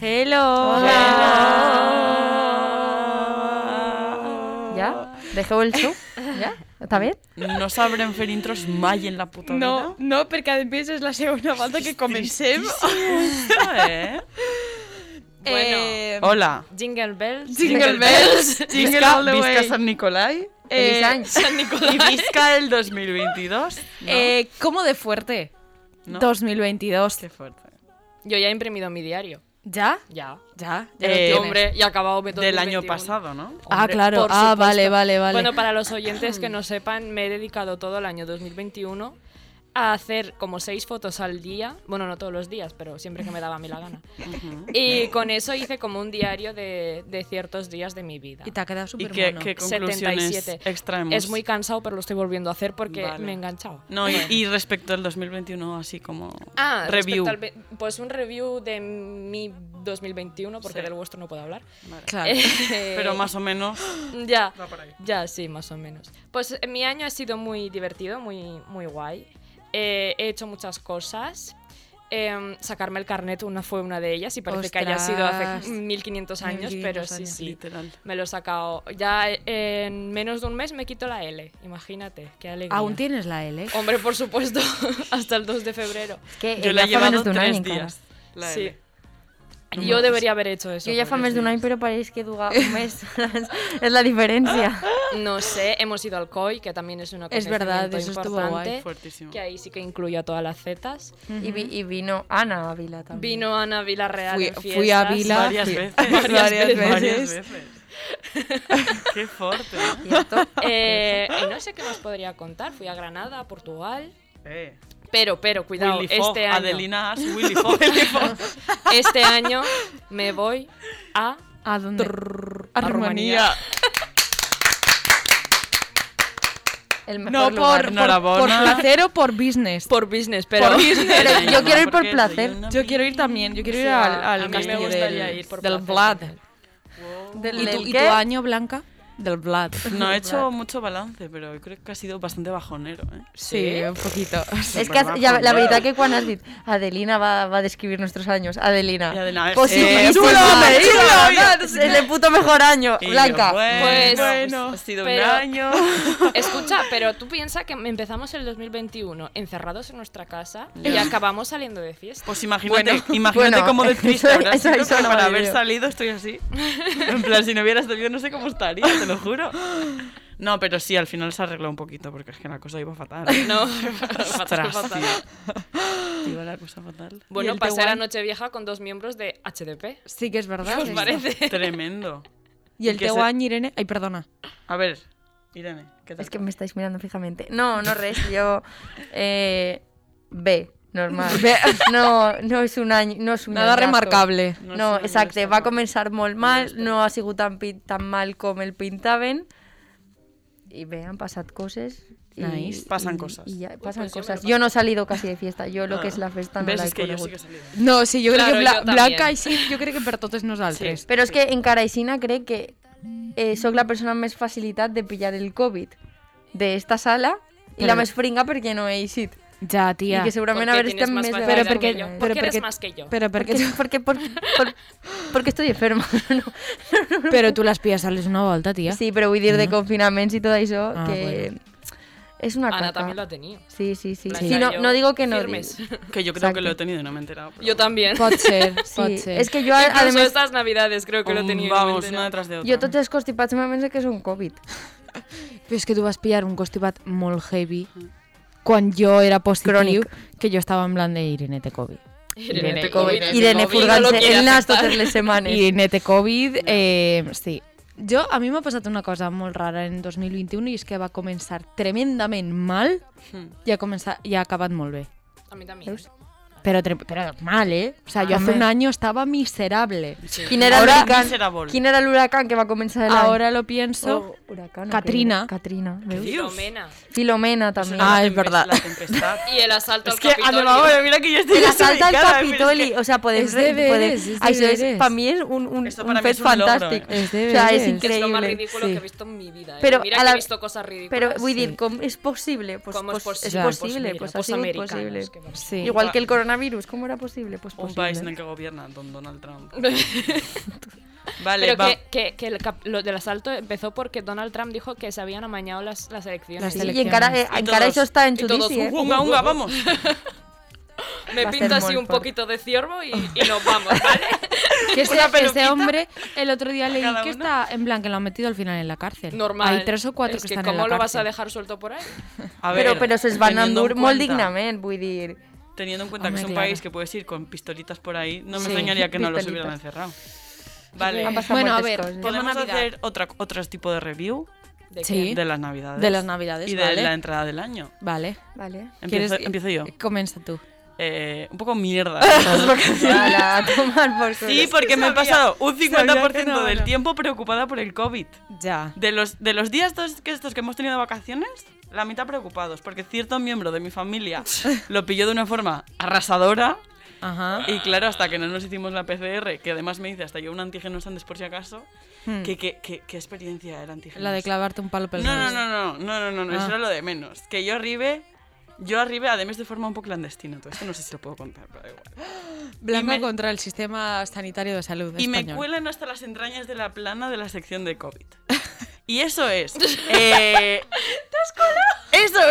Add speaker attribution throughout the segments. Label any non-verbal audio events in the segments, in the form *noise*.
Speaker 1: Hello.
Speaker 2: ¿Ya? Dejeu el show? ¿Ya? ¿Está bien?
Speaker 3: No sabrem fer intros mai en la puta
Speaker 1: No, no, perquè a més és la segona volta que comencem. *laughs*
Speaker 3: vida. Eh?
Speaker 1: Eh,
Speaker 3: Hola.
Speaker 2: Jingle bells.
Speaker 1: Jingle bells. Jingle
Speaker 3: Visca,
Speaker 1: all the
Speaker 3: visca
Speaker 1: way. Eh,
Speaker 3: Sant Nicolai
Speaker 4: Eh.
Speaker 2: Feliz año.
Speaker 1: San Nicolás.
Speaker 3: i visca el 2022. No,
Speaker 1: Eh, ¿Cómo de fuerte?
Speaker 3: No.
Speaker 1: 2022.
Speaker 3: Qué fuerte.
Speaker 4: Yo ya he imprimido mi diario.
Speaker 1: ¿Ya?
Speaker 4: Ya.
Speaker 1: Ya. ya lo
Speaker 3: Eh,
Speaker 1: tienes.
Speaker 4: Hombre, y acabado método
Speaker 3: Del año pasado, ¿no?
Speaker 1: Ah,
Speaker 4: Hombre,
Speaker 1: claro.
Speaker 4: por
Speaker 1: Ah,
Speaker 4: supuesto.
Speaker 1: vale, vale, vale.
Speaker 4: Bueno, para los oyentes
Speaker 1: *clears throat*
Speaker 4: que no sepan, me he dedicado todo el año 2021 a hacer como seis fotos al día. Bueno, no todos los días, pero siempre que me daba a mí la gana. Y con eso hice como un diario de, de ciertos días de mi vida.
Speaker 1: y te ha quedado
Speaker 3: ¿Y
Speaker 1: súper
Speaker 3: qué,
Speaker 1: mono.
Speaker 3: qué conclusiones
Speaker 4: 77.
Speaker 3: extraemos?
Speaker 4: Es muy cansado, pero lo estoy volviendo a hacer porque
Speaker 3: Vale.
Speaker 4: me he enganchado.
Speaker 3: No, y, y respecto al 2021, así como
Speaker 4: Ah,
Speaker 3: review.
Speaker 4: respecto al ve- pues un review de mi 2021, porque
Speaker 3: Sí.
Speaker 4: del vuestro no puedo hablar.
Speaker 1: Claro.
Speaker 4: *laughs*
Speaker 1: *laughs*
Speaker 4: Eh,
Speaker 3: Pero más o
Speaker 4: *gasps*
Speaker 3: menos
Speaker 4: Ya,
Speaker 3: va por ahí.
Speaker 4: ya, sí, más o menos. Pues eh, mi año ha sido muy divertido, muy, muy guay. Eh, he hecho muchas cosas. Em, sacarme el carnet una fue una de ellas y parece que haya sido
Speaker 1: Ostras.
Speaker 4: hace 1500 años, pero
Speaker 1: 1500
Speaker 4: sí,
Speaker 1: años.
Speaker 4: sí.
Speaker 3: literal.
Speaker 4: Me lo he sacado. Ya eh, en menos de un mes me quito la L, imagínate, qué alegría.
Speaker 1: Aún tienes la L.
Speaker 4: Hombre, por supuesto, *laughs* hasta el 2 de febrero.
Speaker 2: Es que
Speaker 3: Yo
Speaker 2: eh,
Speaker 3: la he
Speaker 2: ja fa
Speaker 3: llevado
Speaker 2: menos d'un any
Speaker 3: tres
Speaker 2: encara.
Speaker 3: días. La
Speaker 4: Sí.
Speaker 3: L. No
Speaker 4: Yo
Speaker 3: me-
Speaker 4: debería haber hecho eso.
Speaker 2: Jo ja fa
Speaker 4: pobres
Speaker 2: més d'un
Speaker 4: míos.
Speaker 2: any, però pareix que duga
Speaker 3: *laughs*
Speaker 2: un mes. és la diferència.
Speaker 4: No sé, hemos ido al COI, que también es una
Speaker 1: Es verdad, eso estuvo guay.
Speaker 4: importante.
Speaker 3: Fuertísimo.
Speaker 4: que ahí sí que incluyo a todas las zetas.
Speaker 2: I, vi, I vino Anna a Vila, també.
Speaker 4: Vino Ana Villarreal
Speaker 1: Fui-
Speaker 4: en
Speaker 1: fui
Speaker 4: fiestas.
Speaker 1: a Vila.
Speaker 3: Varias
Speaker 1: Sí.
Speaker 3: veces.
Speaker 1: Varias veces.
Speaker 3: Varias veces. Qué fuerte. ¿no? *laughs*
Speaker 2: Cierto?
Speaker 4: *laughs* Eh, y no sé qué más podría contar. Fui a Granada, a Portugal.
Speaker 3: Eh.
Speaker 4: Pero, pero, *laughs* cuidado,
Speaker 3: Willy Fogg,
Speaker 4: este año, *laughs*
Speaker 3: Adelina Ash, Willy Fogg.
Speaker 4: este año me voy a...
Speaker 1: ¿A dónde?
Speaker 4: A Rumanía.
Speaker 2: El
Speaker 1: No,
Speaker 2: mejor
Speaker 1: por,
Speaker 2: lugar.
Speaker 1: por,
Speaker 3: Enhorabona.
Speaker 1: por placer o por business.
Speaker 4: Por business, pero...
Speaker 1: Por business.
Speaker 2: *laughs* Pero
Speaker 3: Ay,
Speaker 2: yo
Speaker 3: no,
Speaker 2: quiero ir por
Speaker 3: porque
Speaker 2: placer.
Speaker 3: soy una
Speaker 1: Yo quiero ir también, yo quiero
Speaker 4: Sí,
Speaker 1: ir
Speaker 4: a-
Speaker 1: al, al
Speaker 4: a mí me
Speaker 1: castillo
Speaker 4: gustaría
Speaker 1: del,
Speaker 4: ir por
Speaker 1: del
Speaker 4: placer
Speaker 1: Vlad.
Speaker 4: también.
Speaker 2: Del,
Speaker 1: ¿Y tu,
Speaker 2: del
Speaker 1: y tu
Speaker 2: qué?
Speaker 1: año, Blanca? Del *laughs* Vlad.
Speaker 3: No he hecho mucho balance, pero yo creo que ha sido bastante bajonero. ¿eh?
Speaker 1: Sí, un poquito.
Speaker 2: És que has- ja, la veritat que quan has dit Adelina va, va describir nuestros años, Adelina,
Speaker 3: Y Adelina,
Speaker 2: posible,
Speaker 3: eh,
Speaker 2: chulo,
Speaker 3: pues,
Speaker 2: hombre,
Speaker 3: chulo,
Speaker 2: chulo,
Speaker 3: yo-
Speaker 2: no, es el puto mejor año,
Speaker 3: Y yo,
Speaker 2: Blanca.
Speaker 3: bueno,
Speaker 4: Pues,
Speaker 3: bueno,
Speaker 4: bueno,
Speaker 3: ha sido
Speaker 4: pero-
Speaker 3: un año.
Speaker 4: Escucha, pero tú piensas que empezamos el 2021 encerrados en nuestra casa y
Speaker 3: Ya.
Speaker 4: acabamos saliendo de
Speaker 3: *laughs*
Speaker 4: fiesta.
Speaker 3: Pues imagínate, imagínate
Speaker 2: bueno,
Speaker 3: cómo de
Speaker 2: eso-
Speaker 3: triste habrá
Speaker 2: eso-
Speaker 3: sido
Speaker 2: eso
Speaker 3: que
Speaker 2: no
Speaker 3: para
Speaker 2: me
Speaker 3: haber
Speaker 2: veo.
Speaker 3: salido estoy así. En plan, si no hubiera salido no sé cómo estaría, te lo juro. No, pero sí, al final se arregló un poquito porque es que la cosa iba
Speaker 2: *laughs*
Speaker 3: fatal. ¿eh?
Speaker 4: *laughs* No, fatal,
Speaker 3: Ostras,
Speaker 4: fatal.
Speaker 3: tío. Iba la cosa fatal.
Speaker 4: Bueno,
Speaker 1: el
Speaker 4: pasé la
Speaker 1: Tehuán?
Speaker 4: noche vieja con dos miembros de HDP.
Speaker 1: *laughs* Sí que es verdad.
Speaker 4: ¿Os parece?
Speaker 3: Tremendo.
Speaker 1: Y el
Speaker 3: Que se-
Speaker 1: Tehuán, Irene... Ay, perdona.
Speaker 3: A ver, Irene, ¿qué tal?
Speaker 2: Es que me estáis mirando fijamente. No, no res, yo eh, B,
Speaker 1: *laughs*
Speaker 2: normal. No, no es un año, no es un
Speaker 1: Nada
Speaker 2: añazo.
Speaker 1: remarcable.
Speaker 3: No
Speaker 2: No,
Speaker 3: és un año
Speaker 2: exacte,
Speaker 3: destacat.
Speaker 2: va començar molt mal, no ha sigut tan, pin- tan mal com el pintaven, i bé, han passat coses. I,
Speaker 1: Nice.
Speaker 3: Pasan
Speaker 2: i-
Speaker 3: cosas.
Speaker 2: i ja, pasan
Speaker 4: pues sí,
Speaker 2: cosas.
Speaker 4: me
Speaker 2: Yo no he salido casi de fiesta, yo lo que
Speaker 3: Ah.
Speaker 2: es la fiesta no
Speaker 3: ¿Ves?
Speaker 2: la he
Speaker 3: Es que yo sí
Speaker 2: conegut.
Speaker 3: que he salido.
Speaker 1: No, sí, yo
Speaker 4: Claro,
Speaker 1: creo que Bla-
Speaker 4: yo también.
Speaker 1: Blanca y sí, yo creo que per totes nosaltres.
Speaker 2: Però és que encara aixina crec que eh, sóc la persona amb més facilitat de pillar el Covid d'esta sala i la
Speaker 1: Però-
Speaker 2: més fringa perquè no he eixit.
Speaker 1: Ya,
Speaker 2: I
Speaker 1: tía.
Speaker 2: que segurament haver
Speaker 4: tienes
Speaker 2: estat
Speaker 4: más
Speaker 2: més...
Speaker 4: facilidad
Speaker 1: Pero
Speaker 4: que
Speaker 1: porque-
Speaker 4: yo.
Speaker 1: pero
Speaker 4: Porque eres
Speaker 1: porque-
Speaker 4: más que yo.
Speaker 1: Pero,
Speaker 2: Porque,
Speaker 1: perquè,
Speaker 2: porque, porque, por- porque estoy enferma. *laughs* No.
Speaker 1: pero tú las pillas sales una volta, tía.
Speaker 2: Sí, però vull dir de confinaments i tot això,
Speaker 1: Mm. Ah,
Speaker 2: que
Speaker 1: bueno.
Speaker 2: és
Speaker 4: *laughs*
Speaker 2: una
Speaker 4: Ana
Speaker 2: caca.
Speaker 4: también lo ha tenido.
Speaker 2: Sí, sí, sí.
Speaker 4: Blanca
Speaker 2: sí no,
Speaker 4: y yo,
Speaker 2: no digo que no.
Speaker 4: firmes.
Speaker 2: digo-
Speaker 3: Que yo creo que
Speaker 2: Exacto.
Speaker 3: lo he tenido y no me he enterado. pero
Speaker 4: *laughs* Yo también.
Speaker 1: Pot *laughs* ser, pot
Speaker 2: Sí,
Speaker 1: ser.
Speaker 2: és que jo, a, a
Speaker 4: Incluso
Speaker 2: més,
Speaker 4: estas navidades creo que lo he tenido.
Speaker 3: Mm, Vamos, una detrás de otra.
Speaker 2: jo tots els constipats me penso que són Covid.
Speaker 1: Però és que tu vas pillar un constipat molt heavy quan jo era positiu,
Speaker 2: Crònic.
Speaker 1: que jo estava en plan de Irene té Covid. Irene,
Speaker 4: te
Speaker 1: Covid.
Speaker 2: Irene furgant-se el nas totes les setmanes.
Speaker 1: Irene té Covid, eh, sí. Jo, a mi m'ha passat una cosa molt rara en 2021 i és que va començar tremendament mal
Speaker 3: Hmm.
Speaker 1: i ha, començat, i ha acabat molt bé.
Speaker 4: A mí también.
Speaker 1: Però, tre- però mal, eh? O sea, yo hace un año estaba miserable.
Speaker 2: Quin era
Speaker 3: Ahora,
Speaker 2: l'huracán?
Speaker 3: miserable.
Speaker 2: Quin era l'huracán que va començar l'any?
Speaker 1: Ahora lo pienso.
Speaker 2: Oh, huracán, o
Speaker 1: Katrina.
Speaker 2: què? Katrina, veus?
Speaker 3: Dios.
Speaker 4: Filomena.
Speaker 2: Filomena també.
Speaker 1: Ah, es verdad.
Speaker 3: La tempestad.
Speaker 2: *laughs*
Speaker 4: Y el asalto
Speaker 3: es
Speaker 4: al
Speaker 3: que,
Speaker 4: Capitolio.
Speaker 3: además, bueno, mira que yo estoy
Speaker 2: El asalto
Speaker 3: desubicada,
Speaker 2: al
Speaker 3: pero es
Speaker 2: Capitoli,
Speaker 3: que-
Speaker 2: o sea, podéis
Speaker 1: Es deberes, es
Speaker 2: eso
Speaker 1: deberes.
Speaker 2: es, para mí es un, un,
Speaker 3: Esto
Speaker 2: un
Speaker 3: para mí
Speaker 2: fet
Speaker 3: es un logro,
Speaker 2: fantástico.
Speaker 1: eh. Es
Speaker 2: O sea,
Speaker 1: deberes.
Speaker 2: es
Speaker 1: Es lo
Speaker 4: Es lo más
Speaker 2: increíble.
Speaker 4: ridículo
Speaker 1: sí.
Speaker 4: que he visto en mi vida. ¿eh?
Speaker 2: Pero
Speaker 4: mira
Speaker 2: a
Speaker 4: que
Speaker 2: la-
Speaker 4: he visto cosas
Speaker 2: Pero
Speaker 4: ridículas.
Speaker 2: voy a decir,
Speaker 1: Sí.
Speaker 2: ¿cómo es posible? Pues,
Speaker 4: ¿Cómo es
Speaker 2: pues,
Speaker 4: posible?
Speaker 2: es posible,
Speaker 4: Pues
Speaker 2: pues,
Speaker 4: mira,
Speaker 2: así es
Speaker 4: pues americanos,
Speaker 2: posible.
Speaker 4: que vamos.
Speaker 1: Sí.
Speaker 3: Ah.
Speaker 2: Igual que el coronavirus, ¿cómo era posible? Pues
Speaker 3: Un
Speaker 2: posible.
Speaker 3: país en el que gobierna don Donald
Speaker 2: *laughs*
Speaker 3: Trump. Vale,
Speaker 4: Pero
Speaker 3: va.
Speaker 4: que, que- que el cap- lo del asalto empezó porque Donald Trump dijo que se habían amañado las, las elecciones.
Speaker 1: Las
Speaker 2: Sí,
Speaker 1: ele-
Speaker 2: y en cara, eh,
Speaker 1: elecciones.
Speaker 2: en cara
Speaker 3: todos-
Speaker 2: eso está en
Speaker 3: y todos, uh,
Speaker 2: Judici, ¿eh?
Speaker 3: "Unga, unga, vamos.
Speaker 4: Me
Speaker 2: Va a
Speaker 4: pinto
Speaker 2: ser
Speaker 4: así un
Speaker 2: Montfort.
Speaker 4: poquito de ciervo y, y nos vamos, ¿vale?
Speaker 1: *laughs* Que ese,
Speaker 3: Una
Speaker 1: ese
Speaker 3: peluquita
Speaker 1: hombre, el otro día leí
Speaker 3: cada
Speaker 1: que
Speaker 3: uno.
Speaker 1: está, en plan, que lo han metido al final en la cárcel.
Speaker 4: Normal.
Speaker 1: Hay tres o cuatro
Speaker 4: es
Speaker 1: que,
Speaker 4: que
Speaker 1: están en
Speaker 4: ¿Cómo
Speaker 1: la
Speaker 4: lo vas a
Speaker 1: cárcel.
Speaker 4: dejar suelto por ahí?
Speaker 3: A ver,
Speaker 2: Pero, pero se van
Speaker 3: teniendo
Speaker 2: a
Speaker 3: en
Speaker 2: endur molt
Speaker 3: cuenta-
Speaker 2: dignament, vull dir.
Speaker 3: Teniendo en cuenta
Speaker 1: Hombre,
Speaker 3: que es un
Speaker 1: claro.
Speaker 3: país que puedes ir con pistolitas por ahí, no
Speaker 1: Sí,
Speaker 3: me extrañaría que no los
Speaker 2: pistolitas.
Speaker 3: hubieran encerrado. Vale,
Speaker 2: Han pasado
Speaker 1: Bueno, a
Speaker 2: moltes
Speaker 1: ver,
Speaker 2: coses.
Speaker 1: tema
Speaker 3: podemos
Speaker 1: Navidad.
Speaker 3: hacer otra, otro tipo de review
Speaker 4: ¿De
Speaker 1: Sí.
Speaker 4: quién?
Speaker 3: de las Navidades.
Speaker 1: De las Navidades,
Speaker 3: Y de
Speaker 1: vale.
Speaker 3: la entrada del año.
Speaker 1: Vale.
Speaker 2: *laughs* Vale.
Speaker 3: Empiezo,
Speaker 1: ¿Quieres-
Speaker 3: empiezo yo.
Speaker 1: Comienza tú.
Speaker 3: Eh, un poco
Speaker 2: *laughs*
Speaker 3: mierda. estas vacaciones.
Speaker 2: Ala, a tomar por culo.
Speaker 3: Sí,
Speaker 2: *laughs*
Speaker 3: porque me he pasado un
Speaker 1: Sabía
Speaker 3: 50%
Speaker 1: que no,
Speaker 3: del
Speaker 1: no.
Speaker 3: tiempo preocupada por el COVID.
Speaker 1: Ya.
Speaker 3: De los, de los días estos que, estos que hemos tenido de vacaciones, la mitad preocupados, porque cierto miembro de
Speaker 1: *laughs*
Speaker 3: mi familia lo pilló de una forma arrasadora.
Speaker 1: Ajá.
Speaker 3: Y claro, hasta que no nos hicimos la PCR, que además me dice hasta yo un antígeno antes por si acaso,
Speaker 1: Hmm.
Speaker 3: que, que- que- ¿qué experiencia era antígeno?
Speaker 1: La de clavarte un palo pel
Speaker 3: No, no,
Speaker 1: nas.
Speaker 3: no, no, no, no, no, no, eso
Speaker 1: Ah.
Speaker 3: era lo de menos. Que yo arribe, yo arribe, además de forma un poco clandestina, todo esto no sé si lo puedo contar, pero da igual.
Speaker 1: Blanco
Speaker 3: Y me-
Speaker 1: contra el sistema sanitario de salud
Speaker 3: Y me
Speaker 1: español.
Speaker 3: cuelan hasta las entrañas de la plana de la sección
Speaker 1: *laughs*
Speaker 3: de COVID. Y eso es. eh, Eso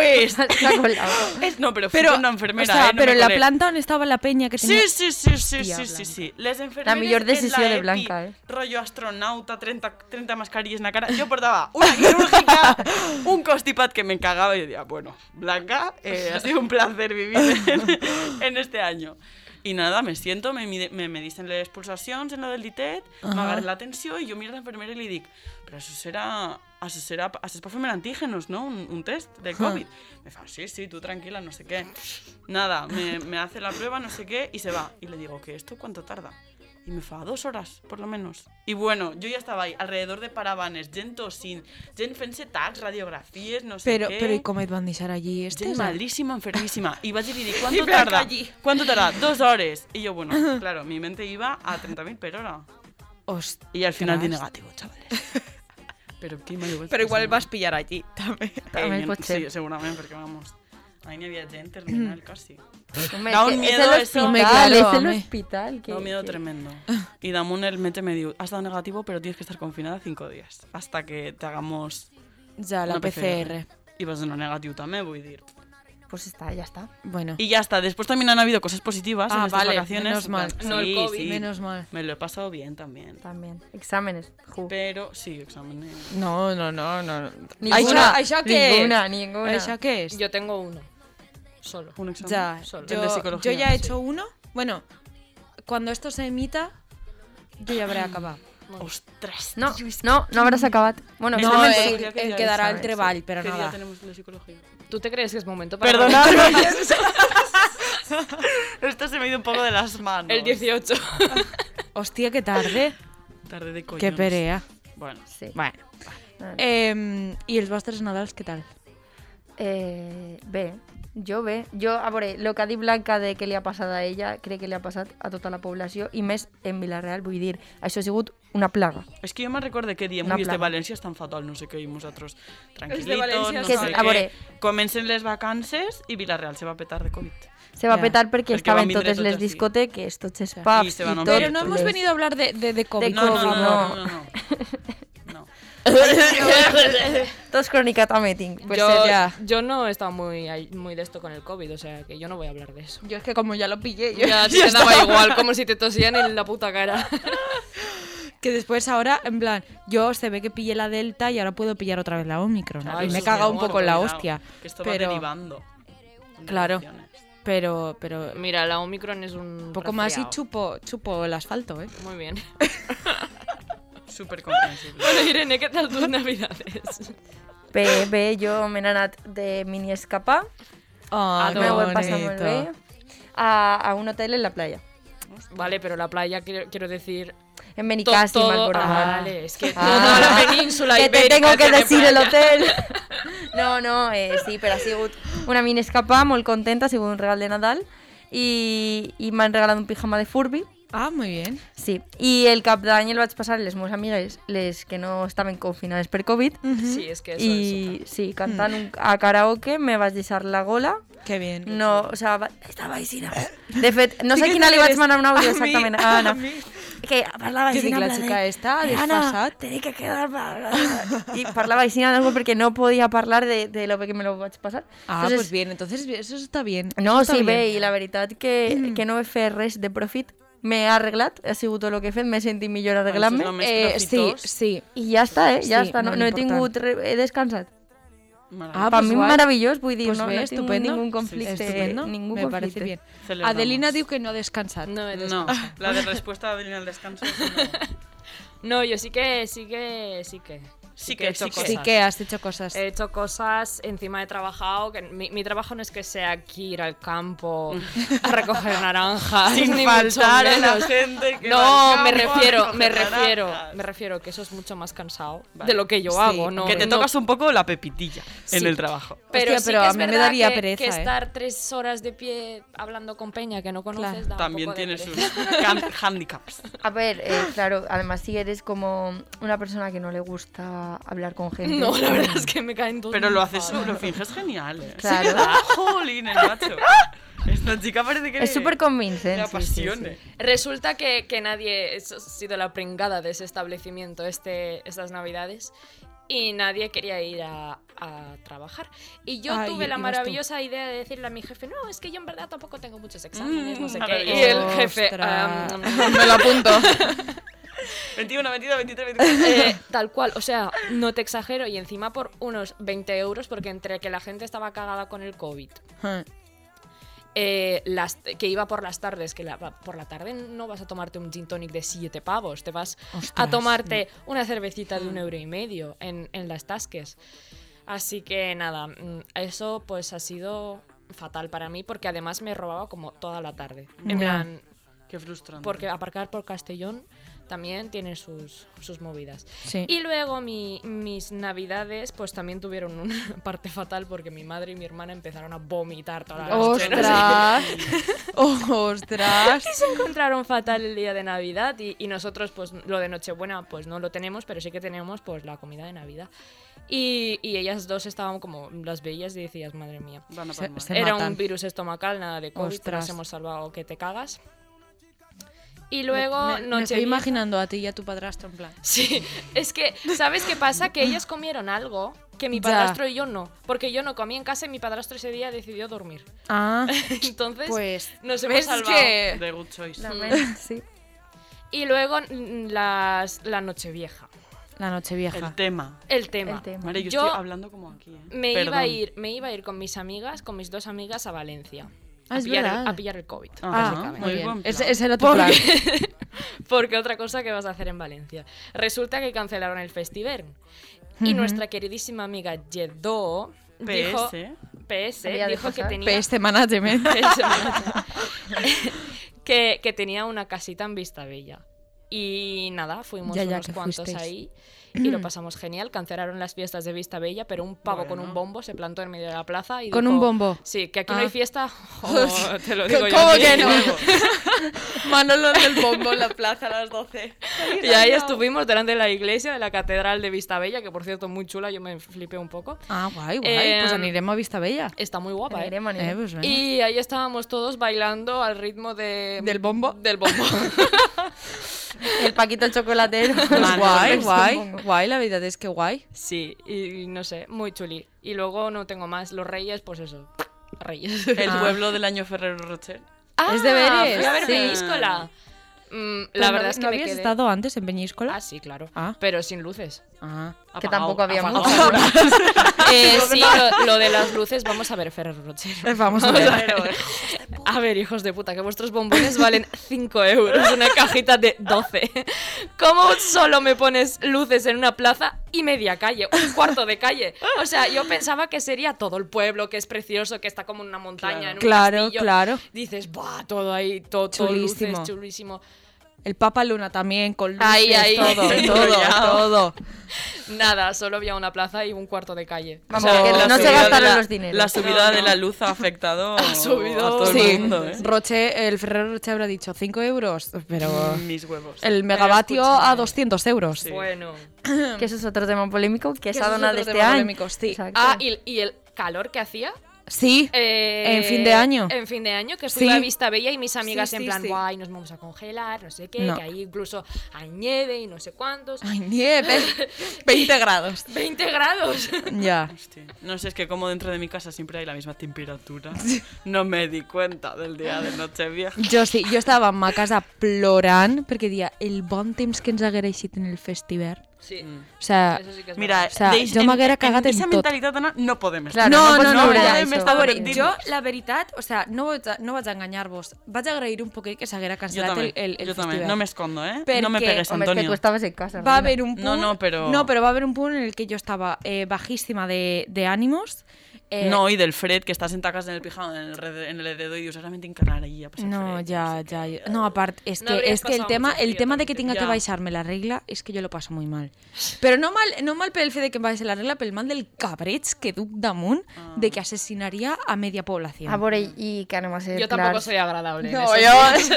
Speaker 1: *laughs*
Speaker 3: es.
Speaker 2: S'ha colat.
Speaker 3: Es- no, pero, fui
Speaker 1: Pero,
Speaker 3: con una enfermera.
Speaker 1: o sea,
Speaker 3: eh, no
Speaker 1: pero
Speaker 3: me
Speaker 1: en la
Speaker 3: colé.
Speaker 1: planta donde estaba la peña que
Speaker 3: Sí,
Speaker 1: tenía...
Speaker 3: sí, sí, sí,
Speaker 1: Tía
Speaker 3: sí, sí,
Speaker 1: Blanca.
Speaker 3: sí. Les enfermeras
Speaker 2: millor
Speaker 3: en la
Speaker 2: decisió de
Speaker 3: EPI,
Speaker 2: Blanca, eh.
Speaker 3: Rollo astronauta, 30, 30 mascarillas en la cara. Yo portaba una
Speaker 2: *laughs*
Speaker 3: quirúrgica, un costipad que me cagaba y decía, bueno, Blanca, eh, ha sido un placer vivir en, en este año. Y nada, me siento, me, mide- me, me dicen les pulsacions en la del DITET,
Speaker 1: Ajá.
Speaker 3: m'agarren la tensió i jo miro l'enfermera i li dic però això serà, això serà, això és per fer-me antígenos, no? Un, un test de COVID. Me fa, sí, sí, tú tranquila, no sé qué. Nada, me, me hace la prueba, no sé qué, y se va. Y le digo, ¿qué esto cuánto tarda? Y me fa dos horas, por lo menos. Y bueno, yo ya estaba ahí, alrededor de paravanes, gent tossint, gent fent-se tags, radiografies, no sé
Speaker 1: Pero,
Speaker 3: què.
Speaker 1: pero ¿y cómo et van deixar allí? Este
Speaker 3: Estoy
Speaker 1: Estes?
Speaker 3: malísima, enfermísima. Y vas
Speaker 1: *laughs*
Speaker 3: a decir, ¿y ¿cuánto
Speaker 2: Blanca
Speaker 3: tarda?
Speaker 2: allí.
Speaker 3: ¿Cuánto tarda? Dos horas. Y yo, bueno,
Speaker 1: *laughs*
Speaker 3: claro, mi mente iba a 30.000 per hora.
Speaker 1: Host-
Speaker 3: Y al final di
Speaker 1: Ostras.
Speaker 3: negativo, chavales.
Speaker 1: *laughs*
Speaker 3: Pero qué mal
Speaker 1: pillar allí, *laughs* també.
Speaker 2: También pot ser.
Speaker 3: Eh, Sí, seguramente, porque vamos. Ahí no
Speaker 1: *clears throat*
Speaker 3: había gente terminal casi.
Speaker 2: Home,
Speaker 3: Da un
Speaker 2: és que
Speaker 3: miedo
Speaker 2: és
Speaker 3: eso.
Speaker 2: el
Speaker 1: Hombre,
Speaker 2: hospital,
Speaker 1: claro,
Speaker 2: es el
Speaker 1: hombre.
Speaker 2: hospital. que-
Speaker 3: Da un miedo
Speaker 2: que-
Speaker 3: tremendo. Y Damon el mete me dijo, has dado negativo, pero tienes que estar confinada cinco días. Hasta que te hagamos
Speaker 1: Ja, la
Speaker 3: una
Speaker 1: PCR.
Speaker 3: Y vas a no negativo también, voy a decir.
Speaker 2: Pues está, ya está.
Speaker 1: Bueno,
Speaker 3: Y ya está. Después también han habido cosas positivas en
Speaker 1: Ah,
Speaker 3: estas
Speaker 1: vale,
Speaker 3: vacaciones.
Speaker 1: menos mal.
Speaker 3: Sí,
Speaker 4: No el COVID.
Speaker 3: sí.
Speaker 1: menos mal.
Speaker 3: Me lo he pasado bien también.
Speaker 2: También. Exámenes. Ju.
Speaker 3: Pero sí, eh, exámenes.
Speaker 1: No, no, no, no.
Speaker 2: Ninguna,
Speaker 1: això què és?
Speaker 2: ninguna, ninguna.
Speaker 1: Això què és?
Speaker 4: Yo tengo uno. Solo.
Speaker 3: Un examen.
Speaker 1: Ya,
Speaker 4: Solo.
Speaker 1: yo,
Speaker 3: El de psicología,
Speaker 1: yo ya he
Speaker 3: sí.
Speaker 1: hecho uno. Bueno, cuando esto se emita, yo ya habré acabado.
Speaker 3: Ostras.
Speaker 2: No, no, no habrás acabado. Bueno,
Speaker 3: Es
Speaker 2: de
Speaker 3: que
Speaker 1: No,
Speaker 3: me
Speaker 1: el,
Speaker 2: momento-
Speaker 3: eh, psicología que
Speaker 1: el
Speaker 3: ya
Speaker 1: quedará
Speaker 2: sabes,
Speaker 1: el treball, pero
Speaker 3: ¿Qué día
Speaker 1: nada.
Speaker 3: tenemos
Speaker 1: *laughs*
Speaker 3: la psicología?
Speaker 4: ¿Tú te crees que es momento para
Speaker 3: Perdonadme. *laughs* Esto se me ha ido un poco de las manos.
Speaker 4: El 18.
Speaker 1: Hostia, qué tarde.
Speaker 3: Tarde de coñones.
Speaker 1: qué perea.
Speaker 3: Bueno,
Speaker 2: Sí. Eh,
Speaker 1: Bueno.
Speaker 2: Vale.
Speaker 1: Em, ¿Y els vostres Nadals qué tal?
Speaker 2: Eh, bé, jo bé. Jo, a veure, el que ha dit Blanca de què li ha passat a ella, crec que li ha passat a tota la població i més en Vilareal, vull dir, això ha sigut una plaga.
Speaker 3: es que yo me recuerdo que diem,
Speaker 2: Una
Speaker 3: uy, este
Speaker 2: plaga.
Speaker 3: Valencia es tan fatal, no sé qué, y nosotros tranquilitos,
Speaker 4: València
Speaker 3: no
Speaker 2: Que
Speaker 3: sé
Speaker 2: és-
Speaker 3: qué.
Speaker 2: a veure.
Speaker 3: Comencen les vacances i Vilareal se va a petar de COVID.
Speaker 2: Se va
Speaker 1: Ja.
Speaker 2: yeah. petar perquè
Speaker 3: Perquè va
Speaker 2: estaven
Speaker 3: vindre
Speaker 2: totes
Speaker 3: tot
Speaker 2: les
Speaker 3: així.
Speaker 2: discoteques, tots els pubs
Speaker 3: se van
Speaker 2: i
Speaker 3: omplir.
Speaker 2: tot.
Speaker 1: Pero no hemos
Speaker 2: les-
Speaker 1: venido a hablar de, de, de COVID.
Speaker 3: No, no,
Speaker 2: Covid,
Speaker 3: no, no,
Speaker 2: no.
Speaker 3: no,
Speaker 2: *laughs*
Speaker 3: no. No.
Speaker 2: Tots crònica també tinc. Pues
Speaker 4: yo,
Speaker 2: eh,
Speaker 1: ya.
Speaker 4: yo no he estado muy, ahí- muy de esto con el COVID, o sea que yo no voy a hablar de eso.
Speaker 1: Yo es que como ya lo pillé, yo-
Speaker 4: *laughs* Ya, a ti te daba *laughs* igual, como si te tosían en la puta cara.
Speaker 1: que después ahora, en plan, yo se ve que pillé la Delta y ahora puedo pillar otra vez la Omicron.
Speaker 3: Claro,
Speaker 1: y me he
Speaker 3: eso
Speaker 1: cagado
Speaker 3: es
Speaker 1: un
Speaker 3: peor,
Speaker 1: poco en la
Speaker 3: cuidado,
Speaker 1: hostia.
Speaker 3: Que esto va
Speaker 1: pero,
Speaker 3: derivando. en
Speaker 1: Claro.
Speaker 3: relaciones.
Speaker 1: pero, pero, un
Speaker 4: *laughs* Mira, la Omicron es un.
Speaker 1: poco más y
Speaker 4: resfriado.
Speaker 1: chupo, chupo el asfalto, ¿eh?
Speaker 4: Muy bien.
Speaker 3: Súper comprensible.
Speaker 4: Bueno, Irene, ¿qué tal tus navidades?
Speaker 2: bé, bé, jo me n'he anat de mini escapar,
Speaker 1: Ah,
Speaker 2: me ho he passat molt bé, a, a un hotel en la playa.
Speaker 4: Vale, pero la playa, quiero, quiero decir.
Speaker 2: En
Speaker 4: to-
Speaker 2: Benicàssim,
Speaker 4: todo-
Speaker 2: al Corredor.
Speaker 4: Ah, vale, es que
Speaker 2: Ah.
Speaker 4: toda la península
Speaker 2: *laughs* que te
Speaker 4: ibérica
Speaker 2: tengo que
Speaker 4: tiene
Speaker 2: decir el
Speaker 4: playa. *laughs*
Speaker 2: hotel. No, no, eh, sí, però ha sigut una mini escapada, molt contenta, ha sigut un regal de Nadal i, i m'han regalat un pijama de Furby
Speaker 1: Ah, muy bien.
Speaker 2: Sí, i el cap d'any el vaig passar a les meves amigues, les que no estaven confinades per Covid,
Speaker 4: Sí, es Mm. que eso Mm.
Speaker 2: i sí, cantant un, a karaoke me vaig deixar la gola,
Speaker 1: Qué bien.
Speaker 2: no, o sea, va, estava així. no. De fet, no
Speaker 1: ¿Eh? *laughs* Sí
Speaker 2: sé
Speaker 1: que
Speaker 2: quina li vaig
Speaker 1: t'eres-
Speaker 2: mandar un
Speaker 1: a
Speaker 2: àudio
Speaker 1: mi,
Speaker 2: exactament a
Speaker 1: a
Speaker 2: Anna.
Speaker 1: mi.
Speaker 2: Que parlava
Speaker 1: Que
Speaker 2: així,
Speaker 1: dic, la
Speaker 2: en plan
Speaker 1: chica
Speaker 2: de,
Speaker 1: esta,
Speaker 2: "Eh,
Speaker 1: disfressat".
Speaker 2: Anna, tenía que quedar... bla, bla, bla". I parlava així en algo perquè no podia parlar de, de lo que me lo vaig passar.
Speaker 1: Ah,
Speaker 2: Entonces,
Speaker 1: pues bien, entonces bien, eso está bien.
Speaker 2: No,
Speaker 1: Eso está
Speaker 2: sí, bé,
Speaker 1: bien. Mm.
Speaker 2: i la veritat que, que no he fet res de profit. M'he arreglat, ha sigut tot el que he fet, m'he sentit millor
Speaker 3: Això és el
Speaker 2: arreglant-me.
Speaker 3: més
Speaker 1: Eh, sí,
Speaker 3: profitós.
Speaker 1: sí.
Speaker 2: I ja està, eh? Ja
Speaker 1: Sí,
Speaker 2: està, no,
Speaker 1: molt
Speaker 2: no he
Speaker 1: important.
Speaker 2: tingut... Re... He descansat.
Speaker 3: Maravilla.
Speaker 1: Ah,
Speaker 2: Per
Speaker 1: pues
Speaker 2: mi
Speaker 1: guai.
Speaker 2: meravellós, vull dir,
Speaker 1: Pues
Speaker 2: no,
Speaker 1: bé,
Speaker 2: no tinc
Speaker 1: estupendo.
Speaker 2: ningún
Speaker 1: Sí,
Speaker 2: conflicte.
Speaker 1: sí, estupendo.
Speaker 2: Ningú
Speaker 1: Me
Speaker 2: conflicte.
Speaker 1: parece bien.
Speaker 4: Ah,
Speaker 3: Celebramos.
Speaker 1: Adelina diu que no ha descansat.
Speaker 4: No, he
Speaker 3: No,
Speaker 4: descansado.
Speaker 3: la de respuesta de Lina al descanso.
Speaker 4: *laughs*
Speaker 3: no.
Speaker 4: No, yo sí que, sí que, sí que.
Speaker 3: Sí que,
Speaker 4: he hecho
Speaker 3: sí que.
Speaker 4: cosas. Eh,
Speaker 1: sí que has hecho cosas.
Speaker 4: He hecho cosas, encima he trabajado. Que mi, mi trabajo no es que sea aquí ir al campo a recoger
Speaker 3: *laughs*
Speaker 4: naranjas.
Speaker 3: Sin
Speaker 4: ni mucho
Speaker 3: faltar a la
Speaker 4: menos.
Speaker 3: gente que va
Speaker 4: No,
Speaker 3: al
Speaker 4: me
Speaker 3: campo a
Speaker 4: refiero,
Speaker 3: recoger
Speaker 4: me refiero,
Speaker 3: naranjas.
Speaker 4: me refiero que eso es mucho más cansado
Speaker 3: Vale.
Speaker 4: de lo que yo
Speaker 1: Sí,
Speaker 4: hago. No,
Speaker 3: que te
Speaker 4: no-
Speaker 3: tocas un poco la pepitilla en
Speaker 4: Sí.
Speaker 3: el trabajo.
Speaker 4: Pero,
Speaker 1: Hostia,
Speaker 4: sí
Speaker 1: pero
Speaker 4: que
Speaker 1: a
Speaker 4: es
Speaker 1: mí me
Speaker 4: verdad
Speaker 1: daría
Speaker 4: que-
Speaker 1: pereza,
Speaker 4: Que
Speaker 1: ¿eh?
Speaker 4: estar tres horas de pie hablando con Peña que no conoces. da un
Speaker 3: También
Speaker 4: poco de
Speaker 3: tiene sus
Speaker 4: pereza.
Speaker 3: can- handicaps.
Speaker 2: A ver, eh, claro, además si eres como una persona que no le gusta hablar con gente.
Speaker 4: *laughs* No, la verdad es que me caen todos.
Speaker 3: Pero
Speaker 4: muy
Speaker 3: lo haces,
Speaker 4: mal.
Speaker 3: lo finges genial. ¿eh?
Speaker 2: Claro.
Speaker 3: Sí, ¿verdad? *laughs* Jolín, el macho. Esta chica parece que
Speaker 2: Es súper
Speaker 3: le
Speaker 2: convincente. sí, sí, sí.
Speaker 3: apasione.
Speaker 4: Resulta que, que nadie eso ha sido la pringada de ese establecimiento este, estas navidades y nadie quería ir a, a trabajar. Y yo
Speaker 1: Ah, y-
Speaker 4: tuve la
Speaker 1: ibas tú.
Speaker 4: maravillosa idea de decirle a mi jefe, no, es que yo en verdad tampoco tengo muchos exámenes, no sé
Speaker 3: Mm,
Speaker 4: qué. Y el
Speaker 3: maravilloso.
Speaker 4: jefe, "Ah,
Speaker 1: Ostras.
Speaker 4: "Am,
Speaker 1: Me lo
Speaker 3: *laughs*
Speaker 1: apunto.
Speaker 3: 21, 22, 23, 24.
Speaker 4: eh, tal cual, o sea, no te exagero y encima por unos 20 euros porque entre que la gente estaba cagada con el COVID,
Speaker 1: Ah,
Speaker 4: eh, las, que iba por las tardes, que la- por la tarde no vas a tomarte un gin tonic de 7 pavos, te vas
Speaker 1: Ostras,
Speaker 4: a tomarte una cervecita de un
Speaker 1: Ah.
Speaker 4: euro y medio en, en las tasques. Así que nada, mm, eso pues ha sido fatal para mí porque además me robaba como toda la tarde.
Speaker 1: Ya.
Speaker 4: En plan,
Speaker 3: Qué frustrante.
Speaker 4: porque aparcar por Castellón también tiene sus, sus movidas.
Speaker 1: Sí.
Speaker 4: Y luego mi- mis navidades pues también tuvieron una *laughs* parte fatal porque mi madre y mi hermana empezaron a vomitar toda la noche. no sé
Speaker 1: Ah,
Speaker 4: *laughs*
Speaker 1: Ostras. Ostras.
Speaker 4: se encontraron fatal el día de Navidad y, y nosotros pues lo de Nochebuena pues no lo tenemos, pero sí que tenemos pues la comida de Navidad. Y, y ellas dos estaban como las bellas y decías, madre mía.
Speaker 3: Van a
Speaker 1: Se-
Speaker 3: palmar.
Speaker 1: se-
Speaker 4: Era
Speaker 1: matan.
Speaker 4: un virus estomacal, nada de COVID,
Speaker 1: Ostras.
Speaker 4: nos hemos salvado que te cagas. Y luego
Speaker 1: me, me estoy
Speaker 4: Nochebuena...
Speaker 1: imaginando a ti y a tu padrastro en plan.
Speaker 4: *laughs* Sí, es que, ¿sabes qué pasa? Que ellos comieron algo que mi
Speaker 1: Ya.
Speaker 4: padrastro y yo no, porque yo no comí en casa y mi padrastro ese día decidió dormir. *laughs*
Speaker 1: *laughs* Ah,
Speaker 4: Entonces,
Speaker 1: pues.
Speaker 4: nos hemos
Speaker 1: ¿Ves
Speaker 4: salvado.
Speaker 1: que.? *laughs*
Speaker 3: De good choice.
Speaker 2: La verdad, sí.
Speaker 4: Y luego mm, las, la Nochevieja.
Speaker 1: La noche
Speaker 3: El
Speaker 1: vieja.
Speaker 3: tema.
Speaker 4: El tema.
Speaker 2: El tema.
Speaker 3: Mare, yo,
Speaker 4: Yo
Speaker 3: estoy hablando como aquí, ¿eh?
Speaker 4: Me
Speaker 3: Perdón.
Speaker 4: iba, a ir, me iba a ir con mis amigas, con mis dos amigas a Valencia.
Speaker 1: Ah,
Speaker 4: a,
Speaker 1: es
Speaker 4: pillar el,
Speaker 1: verdad.
Speaker 4: a pillar el COVID.
Speaker 1: Ah,
Speaker 3: Ajá,
Speaker 1: muy bien.
Speaker 3: buen
Speaker 1: Ese,
Speaker 3: plan.
Speaker 1: ese era tu
Speaker 4: Porque-
Speaker 1: plan.
Speaker 4: Porque otra cosa que vas a hacer en Valencia. Resulta que cancelaron el festival. Y nuestra queridísima amiga Jeddo dijo,
Speaker 3: PS.
Speaker 4: PS,
Speaker 2: Había de
Speaker 4: dijo que
Speaker 2: pasar.
Speaker 4: tenía,
Speaker 1: Este management.
Speaker 4: PS, que, que tenía una casita en Vistabella. Y nada, fuimos
Speaker 1: Ya, ya,
Speaker 4: unos
Speaker 1: que
Speaker 4: cuantos
Speaker 1: fuisteis. *clears throat*
Speaker 4: ahí y lo pasamos genial. Cancelaron las fiestas de Vistabella, pero un pavo con un
Speaker 3: Bueno.
Speaker 4: bombo se plantó en medio de la plaza y
Speaker 1: Con
Speaker 4: dijo,
Speaker 1: un bombo.
Speaker 4: Sí, que aquí no hay
Speaker 1: Ah. *laughs*
Speaker 4: fiesta. *laughs* Oh, te lo digo yo.
Speaker 1: ¿Cómo
Speaker 4: a ti".
Speaker 1: que
Speaker 4: *laughs*
Speaker 1: no? *laughs*
Speaker 2: Manolo del bombo en la plaza a las 12.
Speaker 4: Y ahí estuvimos delante de la iglesia de la catedral de Vistabella, que por cierto muy chula, yo me flipé un poco.
Speaker 1: Ah, guay, guay.
Speaker 4: Eh,
Speaker 1: pues aniremos a Vista Bella.
Speaker 4: Está muy guapa, ¿eh?
Speaker 1: Eh, pues venga.
Speaker 4: Y ahí estábamos todos bailando al ritmo de...
Speaker 1: ¿Del bombo?
Speaker 4: Del bombo.
Speaker 2: El Paquito el chocolatero.
Speaker 1: Pues guay,
Speaker 2: Supongo.
Speaker 1: guay, guay, la verdad es que guay.
Speaker 4: sí, y no sé, muy chuli. Y luego no tengo más. Los reyes, pues eso.
Speaker 1: *laughs*
Speaker 4: Reyes.
Speaker 3: El
Speaker 1: Ah.
Speaker 3: pueblo del año Ferrero Rocher.
Speaker 4: Ah,
Speaker 1: Es de Beres,
Speaker 4: fui a ver
Speaker 1: sí.
Speaker 4: Peñíscola. Mm,
Speaker 1: Pero
Speaker 4: la
Speaker 1: no-
Speaker 4: verdad es que
Speaker 1: ¿No
Speaker 4: me
Speaker 1: habías
Speaker 4: quedé-
Speaker 1: estado antes en Peñíscola?
Speaker 4: Ah, sí, claro.
Speaker 1: Ah.
Speaker 4: Pero sin luces.
Speaker 1: Ah.
Speaker 2: Que
Speaker 3: Apagao,
Speaker 2: tampoco había
Speaker 3: apagao.
Speaker 2: mucho.
Speaker 1: *laughs*
Speaker 4: *laughs* Eh, sí, lo, lo de las luces, vamos a ver Ferrero Rocher.
Speaker 1: Eh, *laughs* Vamos a ver.
Speaker 3: Pero, eh,
Speaker 4: A ver, hijos de puta, que vuestros bombones valen 5 euros, una cajita de 12. ¿Cómo solo me pones luces en una plaza y media calle, un cuarto de calle? O sea, yo pensaba que sería todo el pueblo, que es precioso, que está como en una montaña, en un
Speaker 1: Claro,
Speaker 4: castillo.
Speaker 1: claro.
Speaker 4: Dices, ¡buah! Todo ahí, todo, todo
Speaker 1: Chulísimo.
Speaker 4: luces, chulísimo.
Speaker 1: El Papa Luna también, con luces,
Speaker 4: Ahí, ahí.
Speaker 1: *laughs* todo, todo,
Speaker 3: Enrollado.
Speaker 1: todo.
Speaker 4: Nada, solo había una plaza y un cuarto de calle.
Speaker 3: O
Speaker 2: Vamos,
Speaker 3: sea,
Speaker 2: que
Speaker 3: la
Speaker 2: no se
Speaker 3: subida de
Speaker 2: gastaron
Speaker 3: la-
Speaker 2: los dineros.
Speaker 3: La subida de la luz ha afectado
Speaker 4: Ha subido.
Speaker 3: a todo
Speaker 1: Sí,
Speaker 3: el mundo, ¿eh?
Speaker 1: Roche, el Ferrero Roche habrá dicho 5 euros, pero
Speaker 3: Mis huevos.
Speaker 1: el megavatio
Speaker 4: escúchame.
Speaker 1: a 200 euros.
Speaker 3: Sí.
Speaker 4: Bueno.
Speaker 2: Que eso es otro tema polémico, que
Speaker 1: Que
Speaker 2: es
Speaker 1: eso es
Speaker 2: Adona
Speaker 1: otro
Speaker 2: de este
Speaker 1: tema
Speaker 2: año.
Speaker 1: polémico, sí.
Speaker 2: Exacto.
Speaker 4: Ah, y, y el calor que hacía.
Speaker 1: Sí,
Speaker 4: eh,
Speaker 1: En fin de año.
Speaker 4: En fin de año, que estuve
Speaker 1: Sí.
Speaker 4: a vista bella y mis amigas
Speaker 1: Sí,
Speaker 4: en
Speaker 1: sí,
Speaker 4: plan,
Speaker 1: sí.
Speaker 4: guay, nos vamos a congelar, no sé qué,
Speaker 1: No.
Speaker 4: que ahí incluso hay nieve y no sé cuántos. *laughs*
Speaker 1: Ay, nieve. *laughs* 20 grados.
Speaker 4: 20 grados.
Speaker 1: Ya.
Speaker 3: Hostia. No sé, es que como dentro de mi casa siempre hay la misma temperatura, no me di cuenta del día de
Speaker 1: *laughs*
Speaker 3: Nochevieja.
Speaker 1: Jo sí, jo estava en ma casa plorant perquè dia el bon temps que ens haguera eixit en el festiver.
Speaker 4: *laughs* Sí,
Speaker 1: O sea,
Speaker 4: eso sí que es
Speaker 3: Mira,
Speaker 1: O sea,
Speaker 3: deis-
Speaker 1: jo m'haguera cagat en
Speaker 3: esa
Speaker 1: tot.
Speaker 3: mentalitat, Ana, no pues podem estar.
Speaker 2: Claro, no,
Speaker 1: no,
Speaker 2: pots
Speaker 1: no,
Speaker 2: viure
Speaker 1: no,
Speaker 2: de
Speaker 1: ja
Speaker 2: això.
Speaker 3: hem
Speaker 1: A
Speaker 3: estat
Speaker 1: veure,
Speaker 3: Digue'm.
Speaker 1: jo, la veritat, o sea, no vaig, a- no vaig a enganyar-vos. Vaig agrair un poquet que s'haguera
Speaker 3: Yo
Speaker 1: cancel·lat el,
Speaker 3: también,
Speaker 1: el, el
Speaker 3: yo
Speaker 1: festival.
Speaker 3: también. No me escondo, ¿eh?
Speaker 1: Per
Speaker 3: no me
Speaker 1: què?
Speaker 3: pegues,
Speaker 2: Hombre, es que tú
Speaker 3: Antonio.
Speaker 2: estabas en casa.
Speaker 1: Va a
Speaker 2: Reina.
Speaker 1: haber un punto.
Speaker 3: No, no, pero-
Speaker 1: No, pero va a haber un punto en el que yo estaba eh, bajísima de, de ánimos. eh,
Speaker 3: No, y del Fred, que estás en tacas en el pijama, en el, red- en el dedo y dius, ahora me encarnaría. Pues, el
Speaker 1: No,
Speaker 3: Fred,
Speaker 1: ya,
Speaker 3: sé
Speaker 1: ya,
Speaker 3: qué.
Speaker 1: ya. No, aparte, es
Speaker 4: No
Speaker 1: que,
Speaker 4: habrías
Speaker 1: es que el
Speaker 4: pasado
Speaker 1: tema,
Speaker 4: mucho
Speaker 1: el
Speaker 4: frío
Speaker 1: tema de que
Speaker 4: también.
Speaker 1: tenga que
Speaker 3: Ya.
Speaker 1: baixarme la regla es que yo lo paso muy mal. Pero no mal, no mal pel fe de que em baixi la regla, pel mal del cabreig que duc damunt de que asesinaría a media población.
Speaker 2: A Ah, por ahí, y que además es
Speaker 4: Yo tampoco soy agradable. en
Speaker 1: No,
Speaker 4: eso.
Speaker 1: yo-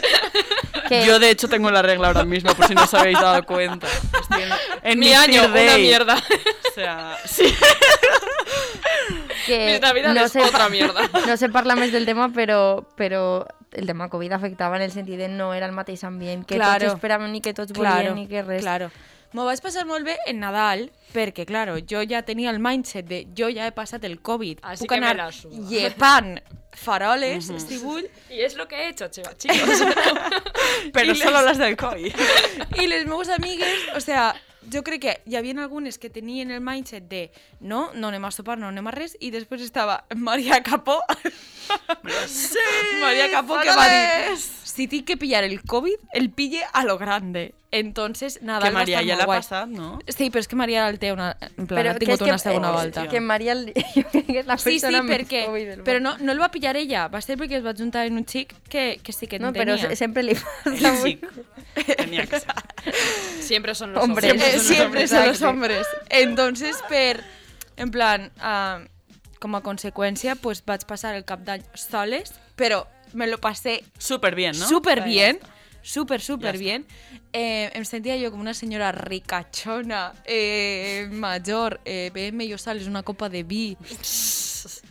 Speaker 2: Que,
Speaker 3: Yo, de hecho, tengo la regla ahora mismo, por si no os habéis dado cuenta. Estoy en, en
Speaker 4: Mi
Speaker 3: mis
Speaker 4: año,
Speaker 3: third
Speaker 4: una
Speaker 3: day.
Speaker 4: mierda.
Speaker 3: O sea, sí.
Speaker 2: que
Speaker 4: Mis navidades,
Speaker 2: no sé,
Speaker 4: otra mierda.
Speaker 2: *laughs* No sé parlar més del tema, però, però el tema Covid afectava en el sentit de no era el mateix ambient, que
Speaker 1: Claro.
Speaker 2: tots esperaven ni que tots
Speaker 1: claro,
Speaker 2: volien ni que res.
Speaker 1: claro. M'ho vaig passar molt bé en Nadal, perquè, claro, jo ja tenia el mindset de jo ja he passat el Covid,
Speaker 4: Así
Speaker 1: puc
Speaker 4: que me
Speaker 1: anar
Speaker 4: la suda.
Speaker 1: llepant faroles, si vull,
Speaker 4: *laughs* Y es lo que he hecho, chiva- chicos.
Speaker 3: Pero
Speaker 1: Y
Speaker 3: solo
Speaker 1: les-
Speaker 3: las del COVID.
Speaker 1: I les meves amigues, o sea, jo crec que hi havia algunes que tenien el mindset de no, no anem a sopar, no anem a res, i després estava Maria Capó. Sí! Maria Capó que va dir,
Speaker 3: farales.
Speaker 1: si tinc que pillar el Covid, el pille a lo grande. Entonces, nada,
Speaker 3: Que María ya la ha pasado, ¿no?
Speaker 1: Sí, però és que Maria el té una... En plan, ha
Speaker 2: que
Speaker 1: tingut
Speaker 2: és que-
Speaker 1: una segona
Speaker 2: eh,
Speaker 1: volta.
Speaker 2: Que *laughs* Maria el- jo crec que és la
Speaker 1: Sí, sí,
Speaker 2: persona més
Speaker 1: perquè...
Speaker 2: Covid del món.
Speaker 1: Però no, no el va pillar ella, va ser perquè es va juntar en un xic que, que sí que en
Speaker 2: No,
Speaker 1: tenia.
Speaker 2: però se- sempre li
Speaker 1: *laughs*
Speaker 2: passa
Speaker 3: El
Speaker 2: molt.
Speaker 3: chico. Tenía que ser.
Speaker 4: Siempre son los
Speaker 2: Hombre,
Speaker 4: hombres.
Speaker 1: Eh, siempre
Speaker 2: Siempre son
Speaker 1: son
Speaker 2: los
Speaker 1: los hombres. Entonces, per, en plan, ah, com a conseqüència, pues, vaig passar el cap d'any soles, però me lo passé
Speaker 3: Súper bien, ¿no?
Speaker 1: súper bien, súper, súper bien. Eh, em sentia jo com una senyora ricachona, eh, major, eh, bevent-me jo soles una copa de vi.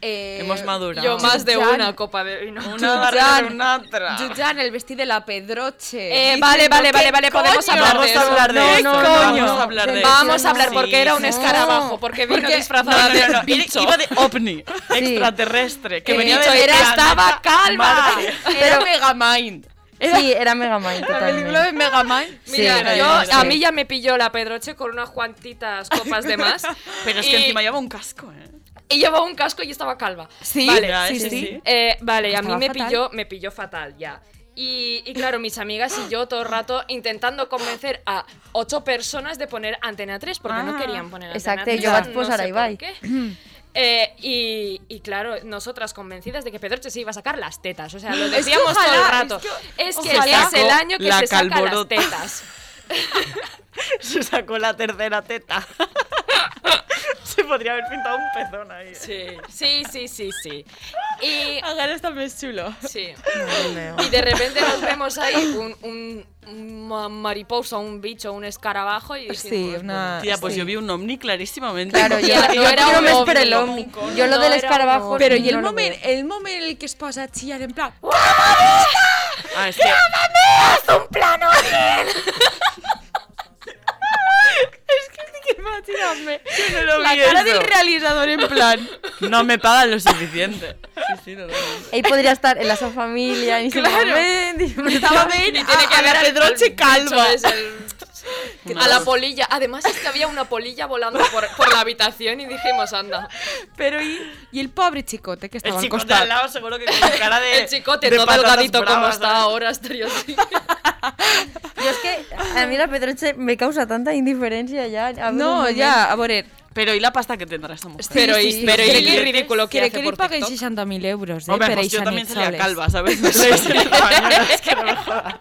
Speaker 1: Eh,
Speaker 3: Hemos madurado.
Speaker 4: Yo más de
Speaker 1: Jan.
Speaker 4: una copa de vino.
Speaker 3: Una barrera de una otra.
Speaker 1: Jutjant el vestit de la Pedroche.
Speaker 4: Eh, vale, vale, vale, vale, podemos hablar
Speaker 3: Vamos
Speaker 4: de
Speaker 3: a
Speaker 4: eso.
Speaker 3: hablar de
Speaker 4: No,
Speaker 3: eso, no,
Speaker 4: no, no,
Speaker 3: vamos
Speaker 4: no.
Speaker 3: a hablar de eso.
Speaker 4: Vamos a hablar
Speaker 3: Sí,
Speaker 4: porque era un
Speaker 3: sí.
Speaker 4: escarabajo, porque vino
Speaker 1: Porque-
Speaker 3: No, no,
Speaker 4: disfrazado
Speaker 3: no,
Speaker 4: de
Speaker 3: no,
Speaker 4: bicho.
Speaker 3: Iba de ovni, extraterrestre, que
Speaker 1: Eh,
Speaker 3: venía
Speaker 1: bicho,
Speaker 3: de
Speaker 1: era-
Speaker 4: estaba calma.
Speaker 3: Marte.
Speaker 1: Era Megamind.
Speaker 2: Sí, era Megamind,
Speaker 1: La película de
Speaker 2: totalmente.
Speaker 1: Megamind.
Speaker 4: Mira,
Speaker 2: Sí,
Speaker 4: yo,
Speaker 2: sí.
Speaker 4: a mí ya me pilló la Pedroche con unas cuantitas copas de más.
Speaker 3: *laughs* Pero es
Speaker 4: y-
Speaker 3: que encima llevaba un casco, ¿eh?
Speaker 4: Y llevaba un casco y estaba calva.
Speaker 1: Sí,
Speaker 4: Vale,
Speaker 3: Ya,
Speaker 1: sí,
Speaker 3: ese
Speaker 1: sí.
Speaker 3: sí.
Speaker 4: Eh, vale, a mí
Speaker 1: Estaba
Speaker 4: me
Speaker 1: fatal.
Speaker 4: pilló, me pilló fatal ya. Y, y claro, mis amigas y yo todo el rato intentando convencer a ocho personas de poner Antena 3 porque no
Speaker 3: Ah.
Speaker 4: querían poner Antena
Speaker 2: Exacto,
Speaker 4: 3.
Speaker 2: yo vas posar
Speaker 4: sé
Speaker 2: ahí,
Speaker 4: por
Speaker 2: bye.
Speaker 4: qué. Eh, y, y claro, nosotras convencidas de que Pedroche se iba a sacar las tetas. O sea, lo decíamos todo el
Speaker 1: ojalá,
Speaker 4: rato. Es que,
Speaker 3: ojalá.
Speaker 4: es el año que
Speaker 3: La
Speaker 4: se saca las
Speaker 3: calborota.
Speaker 4: tetas.
Speaker 3: *laughs* Se sacó la tercera teta. *laughs* Se podría haber pintado un pezón ahí.
Speaker 4: Sí, sí, sí, sí, sí. Y
Speaker 1: Ahora está más chulo.
Speaker 4: Sí. Y de repente nos vemos ahí un, un, un ma- mariposa, un bicho, un escarabajo y
Speaker 1: Sí,
Speaker 4: dijimos,
Speaker 1: una...
Speaker 3: Tía, pues
Speaker 1: sí.
Speaker 3: yo vi un ovni clarísimamente. *laughs*
Speaker 2: Claro, yo,
Speaker 4: No
Speaker 2: yo
Speaker 4: era
Speaker 2: aquí no
Speaker 4: un
Speaker 2: me
Speaker 4: ovni,
Speaker 2: esperé el
Speaker 4: no,
Speaker 2: ovni.
Speaker 4: un
Speaker 2: Yo lo
Speaker 4: cono.
Speaker 2: del
Speaker 4: No era un
Speaker 2: escarabajo.
Speaker 4: ovni.
Speaker 1: Pero y
Speaker 2: no
Speaker 1: el
Speaker 2: lo
Speaker 1: momento,
Speaker 2: veo.
Speaker 1: el momento en el que es pasa a chillar en plan...
Speaker 3: Ah, es que-
Speaker 1: Imagíname.
Speaker 3: no lo
Speaker 1: La
Speaker 3: vi
Speaker 1: cara
Speaker 3: eso.
Speaker 1: del realizador en plan...
Speaker 3: No me pagan lo suficiente. Sí, sí, totalmente.
Speaker 2: Ell
Speaker 1: *laughs*
Speaker 2: podria estar en la seva família, en
Speaker 1: Claro. *laughs* Estaba bien. Ah,
Speaker 4: *laughs* Y tiene que
Speaker 1: a-
Speaker 4: haber
Speaker 1: a
Speaker 4: al-
Speaker 1: Pedroche
Speaker 4: al
Speaker 1: calva.
Speaker 4: bicho ese, el- a la polilla. Además es que había una polilla volando por, por la habitación y dijimos, anda.
Speaker 1: Pero y, y el pobre chicote que
Speaker 3: El
Speaker 1: estaba al
Speaker 3: chico de al
Speaker 1: costado.
Speaker 3: lado
Speaker 1: Eh,
Speaker 3: seguro que con cara de
Speaker 4: *laughs* El chicote
Speaker 3: de
Speaker 4: todo
Speaker 3: patatas
Speaker 4: delgadito como
Speaker 3: bravas,
Speaker 1: *laughs*
Speaker 4: está
Speaker 3: ¿sabes?
Speaker 4: ahora, estaría así.
Speaker 2: Yo es que a mí la Pedroche me causa tanta indiferencia ya. a ver un
Speaker 1: No,
Speaker 2: moment.
Speaker 1: ya, a veure...
Speaker 3: Pero ¿y la pasta que tendrá esta mujer?
Speaker 4: Pero,
Speaker 1: sí,
Speaker 4: y,
Speaker 1: sí,
Speaker 4: pero
Speaker 1: sí.
Speaker 4: y
Speaker 1: Crec
Speaker 4: qué
Speaker 1: que-
Speaker 4: ridículo que
Speaker 1: crec
Speaker 4: hace
Speaker 1: que li
Speaker 4: por
Speaker 1: pagueu
Speaker 4: TikTok.
Speaker 1: 60.000 euros, eh,
Speaker 3: Hombre,
Speaker 1: per
Speaker 3: pues yo
Speaker 1: això
Speaker 3: también
Speaker 1: nit,
Speaker 3: sería
Speaker 1: ¿sabes?
Speaker 3: calva, ¿sabes? No sois
Speaker 4: *laughs*
Speaker 3: españolas, es que no me jodas.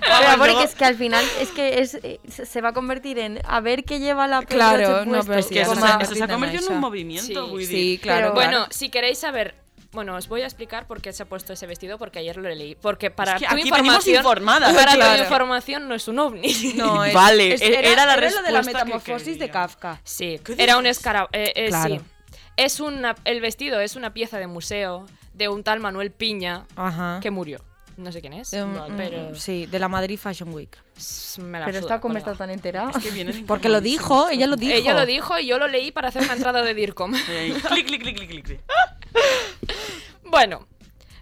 Speaker 2: Pero
Speaker 3: Vamos,
Speaker 2: amor,
Speaker 3: luego-
Speaker 2: que es que al final es que es, eh, se se va a convertir en a ver qué lleva la Pedroche
Speaker 1: Claro, no,
Speaker 2: puesto,
Speaker 1: pero sí,
Speaker 3: que eso,
Speaker 2: coma.
Speaker 1: Toma,
Speaker 3: se, eso se ha
Speaker 1: Martina,
Speaker 3: convertido en
Speaker 1: Isa.
Speaker 3: un movimiento,
Speaker 4: Sí.
Speaker 3: Woody.
Speaker 1: Sí, claro. claro.
Speaker 4: *laughs*
Speaker 2: Pero-
Speaker 4: Bueno, si queréis saber. Bueno, os voy a explicar por qué se ha puesto ese vestido, porque ayer lo leí. Porque para
Speaker 3: Es que
Speaker 4: tu
Speaker 3: aquí venimos
Speaker 4: información.
Speaker 3: informadas,
Speaker 4: para
Speaker 1: claro.
Speaker 4: tu información no es un ovni.
Speaker 1: No, es-
Speaker 3: Vale,
Speaker 1: es-
Speaker 3: era- era la
Speaker 1: lo de la
Speaker 3: respuesta que
Speaker 1: metamorfosis de
Speaker 3: quería.
Speaker 1: Kafka.
Speaker 4: *laughs* Sí,
Speaker 3: ¿Qué
Speaker 4: era un
Speaker 3: dices?
Speaker 4: escarabajo.
Speaker 1: Claro.
Speaker 4: Es una, el vestido es una pieza de museo de un tal Manuel Piña
Speaker 1: Ajá.
Speaker 4: que murió. No sé quién es,
Speaker 1: De un- un-
Speaker 4: pero
Speaker 1: um, mm, Sí, de la Madrid Fashion Week.
Speaker 4: s- me la
Speaker 2: Pero
Speaker 4: suda,
Speaker 2: está como
Speaker 4: colega.
Speaker 2: está tan enterado.
Speaker 3: Que vienen
Speaker 1: Porque lo dijo,
Speaker 3: informadísimos.
Speaker 1: ella lo dijo.
Speaker 4: Ella lo dijo y yo lo leí para hacer una entrada de DIRCOM.
Speaker 3: Eh, clic, clic, clic, clic, clic, clic.
Speaker 4: Bueno,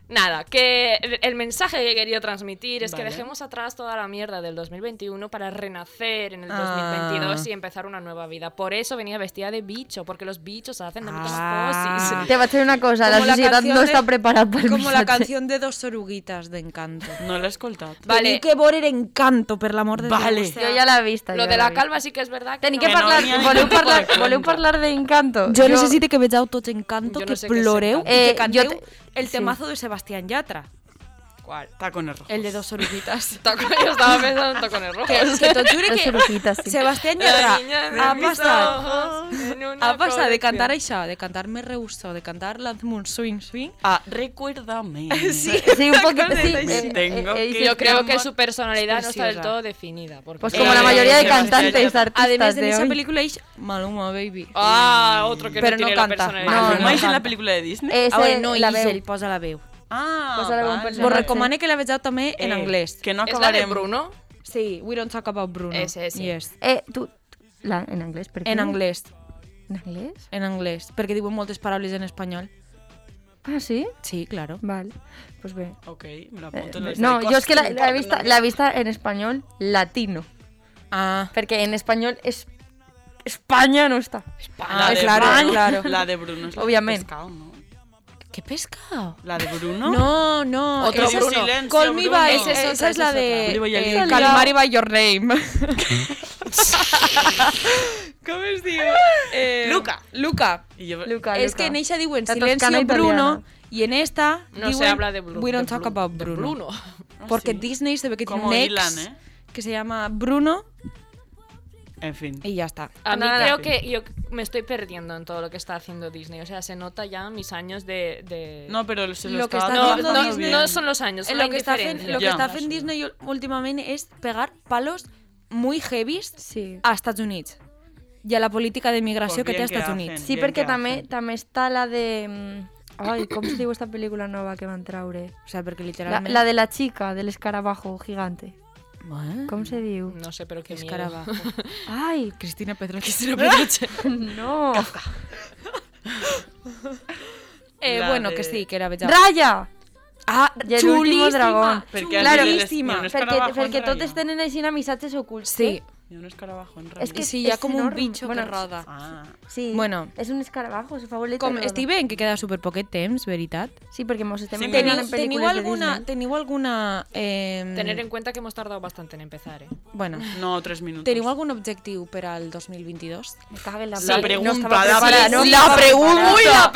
Speaker 4: nada, que el el mensaje que quería transmitir es
Speaker 3: Vale.
Speaker 4: que dejemos atrás toda la mierda del 2021 para renacer en el
Speaker 1: Ah.
Speaker 4: 2022 y empezar una nueva vida. Por eso venía vestida de bicho, porque los bichos hacen de
Speaker 1: Ah.
Speaker 4: *laughs* metamorfosis.
Speaker 2: Te va a hacer una cosa, la
Speaker 1: Como la
Speaker 2: sociedad
Speaker 1: canción
Speaker 2: no
Speaker 1: de-
Speaker 2: está preparada para el
Speaker 1: Como la
Speaker 2: missatge.
Speaker 1: canción de dos oruguitas de *laughs* Encanto.
Speaker 3: No l'he escoltat.
Speaker 4: Vale.
Speaker 1: Teniu que veure Encanto, per l'amor de
Speaker 3: Vale.
Speaker 1: Déu. o sea,
Speaker 2: Yo ya la he visto.
Speaker 4: Lo de la calva sí que es verdad. que
Speaker 2: Tenéis
Speaker 4: no-
Speaker 2: que
Speaker 3: Que no,
Speaker 2: hablar,
Speaker 3: ni a
Speaker 2: voleu
Speaker 3: ningú
Speaker 2: parlar,
Speaker 3: li cuento.
Speaker 2: voleu parlar de Encanto.
Speaker 1: Jo necessito que vegeu tots Encanto,
Speaker 4: Jo no
Speaker 1: que
Speaker 4: sé què és
Speaker 1: ploreu
Speaker 4: Encanto.
Speaker 1: i que
Speaker 2: Eh,
Speaker 1: canteu
Speaker 2: jo te-
Speaker 1: el
Speaker 2: sí.
Speaker 1: temazo de Sebastián Yatra,
Speaker 3: ¿Cuál? Tacones rojos.
Speaker 1: el de dos oruguitas.
Speaker 4: *laughs* Yo estaba pensando en tacones
Speaker 1: *laughs*
Speaker 4: rojos.
Speaker 1: que que t'ho jure
Speaker 2: Dos
Speaker 1: que
Speaker 2: oruguitas, sí.
Speaker 1: Sebastián
Speaker 4: La
Speaker 1: Yatra
Speaker 4: niña
Speaker 1: ha
Speaker 4: de mis
Speaker 1: passat
Speaker 4: ojos en una
Speaker 1: ha passat de
Speaker 4: colección.
Speaker 1: cantar això, de cantar Me Rehuso, de cantar Lanzme un swing swing,
Speaker 3: Ah, recuérdame.
Speaker 1: Sí.
Speaker 2: Sí, un poquito, sí.
Speaker 1: Me
Speaker 2: eh, eh,
Speaker 3: tengo
Speaker 2: eh,
Speaker 3: que-
Speaker 2: sí.
Speaker 4: Yo creo que
Speaker 3: amor.
Speaker 4: su personalidad
Speaker 1: Es
Speaker 4: no está del
Speaker 1: preciosa.
Speaker 4: todo definida. porque-
Speaker 2: Pues
Speaker 3: Eh,
Speaker 2: como la mayoría de
Speaker 3: eh,
Speaker 2: cantantes,
Speaker 3: eh,
Speaker 2: artistas
Speaker 1: Además, en
Speaker 2: de
Speaker 1: esa
Speaker 2: hoy.
Speaker 1: película es Maluma, baby.
Speaker 4: Ah, otro que
Speaker 1: Pero
Speaker 4: no tiene
Speaker 1: no
Speaker 4: la
Speaker 1: canta.
Speaker 4: personalidad.
Speaker 2: No,
Speaker 3: Ah, No,
Speaker 2: no.
Speaker 3: en la película de Disney?
Speaker 2: Ese,
Speaker 1: Ah, bueno, no,
Speaker 2: eh, la
Speaker 1: la
Speaker 2: veu.
Speaker 1: Isel, posa la veu.
Speaker 3: ah,
Speaker 2: pues algún
Speaker 3: vale.
Speaker 2: personaje.
Speaker 1: Vos
Speaker 2: no sé.
Speaker 1: recomane que la vegeu també en
Speaker 3: Eh,
Speaker 1: anglès.
Speaker 3: Que no
Speaker 4: ¿Es la
Speaker 3: acabarem...
Speaker 4: de Bruno?
Speaker 1: Sí, We Don't Talk About Bruno.
Speaker 4: Ese, ese.
Speaker 1: Yes.
Speaker 2: Eh, tu... La, en anglès, per què?
Speaker 1: En anglès,
Speaker 2: En anglès?
Speaker 1: en anglès, perquè diuen moltes paraules en espanyol.
Speaker 2: Ah, sí?
Speaker 1: Sí, claro.
Speaker 2: Vale, pues bé.
Speaker 3: Ok, me lo
Speaker 2: Eh,
Speaker 3: apunto en los
Speaker 2: no,
Speaker 3: ricos.
Speaker 2: jo és que la, la, he vista, la he vista en espanyol latino,
Speaker 1: Ah,
Speaker 2: perquè en espanyol és... Espanya no està.
Speaker 1: ah
Speaker 3: de
Speaker 1: claro,
Speaker 3: Bruno.
Speaker 1: claro.
Speaker 3: La de Bruno es la
Speaker 2: Obviamente.
Speaker 3: de pescado, ¿no?
Speaker 1: ¿Qué pescado?
Speaker 3: La de Bruno.
Speaker 1: No, no.
Speaker 4: Otro
Speaker 1: esa es-
Speaker 4: Bruno.
Speaker 3: Silencio,
Speaker 1: Call me
Speaker 3: Bruno.
Speaker 1: by...
Speaker 4: Esa es
Speaker 1: eh,
Speaker 4: otra,
Speaker 1: esa es
Speaker 4: esa
Speaker 1: la
Speaker 4: es
Speaker 1: de...
Speaker 3: otra. Oliva y
Speaker 1: eh,
Speaker 3: Alien.
Speaker 1: Calimari by your name. ¿Cómo es diu? Eh,
Speaker 3: Luca.
Speaker 1: Luca.
Speaker 3: Y yo...
Speaker 2: Luca,
Speaker 1: Es
Speaker 2: Luca.
Speaker 1: que en ella diuen
Speaker 2: La
Speaker 1: silencio
Speaker 2: toscana
Speaker 1: Bruno
Speaker 2: italiana.
Speaker 1: y en esta
Speaker 4: No
Speaker 1: diuen
Speaker 4: se habla de Bruno.
Speaker 1: We don't
Speaker 4: de
Speaker 1: talk
Speaker 4: Blu-
Speaker 1: about
Speaker 4: de
Speaker 1: Bruno.
Speaker 4: Bruno.
Speaker 3: Ah,
Speaker 1: Porque
Speaker 3: sí.
Speaker 1: Disney se ve que tiene
Speaker 3: Como
Speaker 1: un ex
Speaker 3: Ilan, ¿eh?
Speaker 1: que se llama Bruno
Speaker 3: En fin.
Speaker 1: y ya está.
Speaker 4: A mí
Speaker 3: Nada.
Speaker 4: creo que yo me estoy perdiendo en todo lo que está haciendo Disney. O sea, se nota ya mis años de... de-
Speaker 3: No, pero se lo,
Speaker 1: Lo que
Speaker 3: estaba
Speaker 1: está
Speaker 4: no,
Speaker 1: haciendo
Speaker 3: tomando
Speaker 4: no-
Speaker 1: Disney-
Speaker 3: bien.
Speaker 4: no son los años,
Speaker 1: Eh,
Speaker 4: son
Speaker 1: lo que está haciendo lo que
Speaker 3: Ya.
Speaker 1: está fent Disney ul- últimamente es pegar palos muy heavies
Speaker 2: Sí.
Speaker 1: a Estados Unidos y a la política de migración
Speaker 3: Pues
Speaker 1: que tiene
Speaker 3: bien
Speaker 1: Estados
Speaker 3: que
Speaker 1: Unidos.
Speaker 3: hacen.
Speaker 2: Sí,
Speaker 3: Bien
Speaker 2: perquè
Speaker 3: que
Speaker 2: també,
Speaker 3: hacen.
Speaker 2: també està la de... mm, Ai, com es diu esta pel·lícula nova que van traure?
Speaker 1: O sea, porque
Speaker 2: La,
Speaker 1: literalmente...
Speaker 2: la de la chica, del escarabajo gigante.
Speaker 1: Bueno,
Speaker 2: Com se diu?
Speaker 3: Mm.
Speaker 4: No sé, pero qué miedo.
Speaker 1: escarabajo.
Speaker 2: Ai,
Speaker 1: Cristina Pedro.
Speaker 2: *laughs*
Speaker 1: *laughs*
Speaker 2: no.
Speaker 1: Eh,
Speaker 3: La
Speaker 1: bueno,
Speaker 3: de-
Speaker 1: que sí, que era bella.
Speaker 2: Raya!
Speaker 1: Ah,
Speaker 2: Y el último
Speaker 1: chulísima.
Speaker 2: dragón.
Speaker 3: Perquè
Speaker 2: Claro,
Speaker 3: al final és- hi ha
Speaker 2: és-
Speaker 3: un
Speaker 1: Chulísima.
Speaker 2: Perquè,
Speaker 3: escarabajo en
Speaker 2: perquè
Speaker 3: Raya.
Speaker 2: tots tenen així missatges ocults.
Speaker 1: Sí,
Speaker 3: Y un escarabajo en
Speaker 2: Es
Speaker 3: realidad.
Speaker 2: que
Speaker 1: sí, ya
Speaker 2: es
Speaker 1: como un
Speaker 2: enorme.
Speaker 1: bicho
Speaker 2: Bueno,
Speaker 1: que roda.
Speaker 3: Ah,
Speaker 2: Sí.
Speaker 1: Bueno.
Speaker 2: És un escarabajo, se fa boleta.
Speaker 1: Com
Speaker 2: i roda.
Speaker 1: estic veient que queda super poquet temps, veritat?
Speaker 2: Sí, perquè mos estem
Speaker 3: Sí,
Speaker 2: enganant
Speaker 1: Teniu,
Speaker 2: en
Speaker 1: teniu
Speaker 2: pel·lícules
Speaker 1: alguna...
Speaker 2: de Disney.
Speaker 1: Teniu alguna... Eh,
Speaker 4: *laughs* Tener en cuenta que hemos tardado bastante en empezar, ¿eh?
Speaker 1: Bueno,
Speaker 3: no, tres minutos.
Speaker 1: teniu algun objectiu per al 2022?
Speaker 2: Me cago en la,
Speaker 3: La
Speaker 2: puta.
Speaker 3: pregunta, la
Speaker 2: estava preparada,
Speaker 3: pre-
Speaker 2: no?
Speaker 3: sí,
Speaker 2: estava
Speaker 4: pregunta!
Speaker 2: preparada.
Speaker 4: ¡Uy, la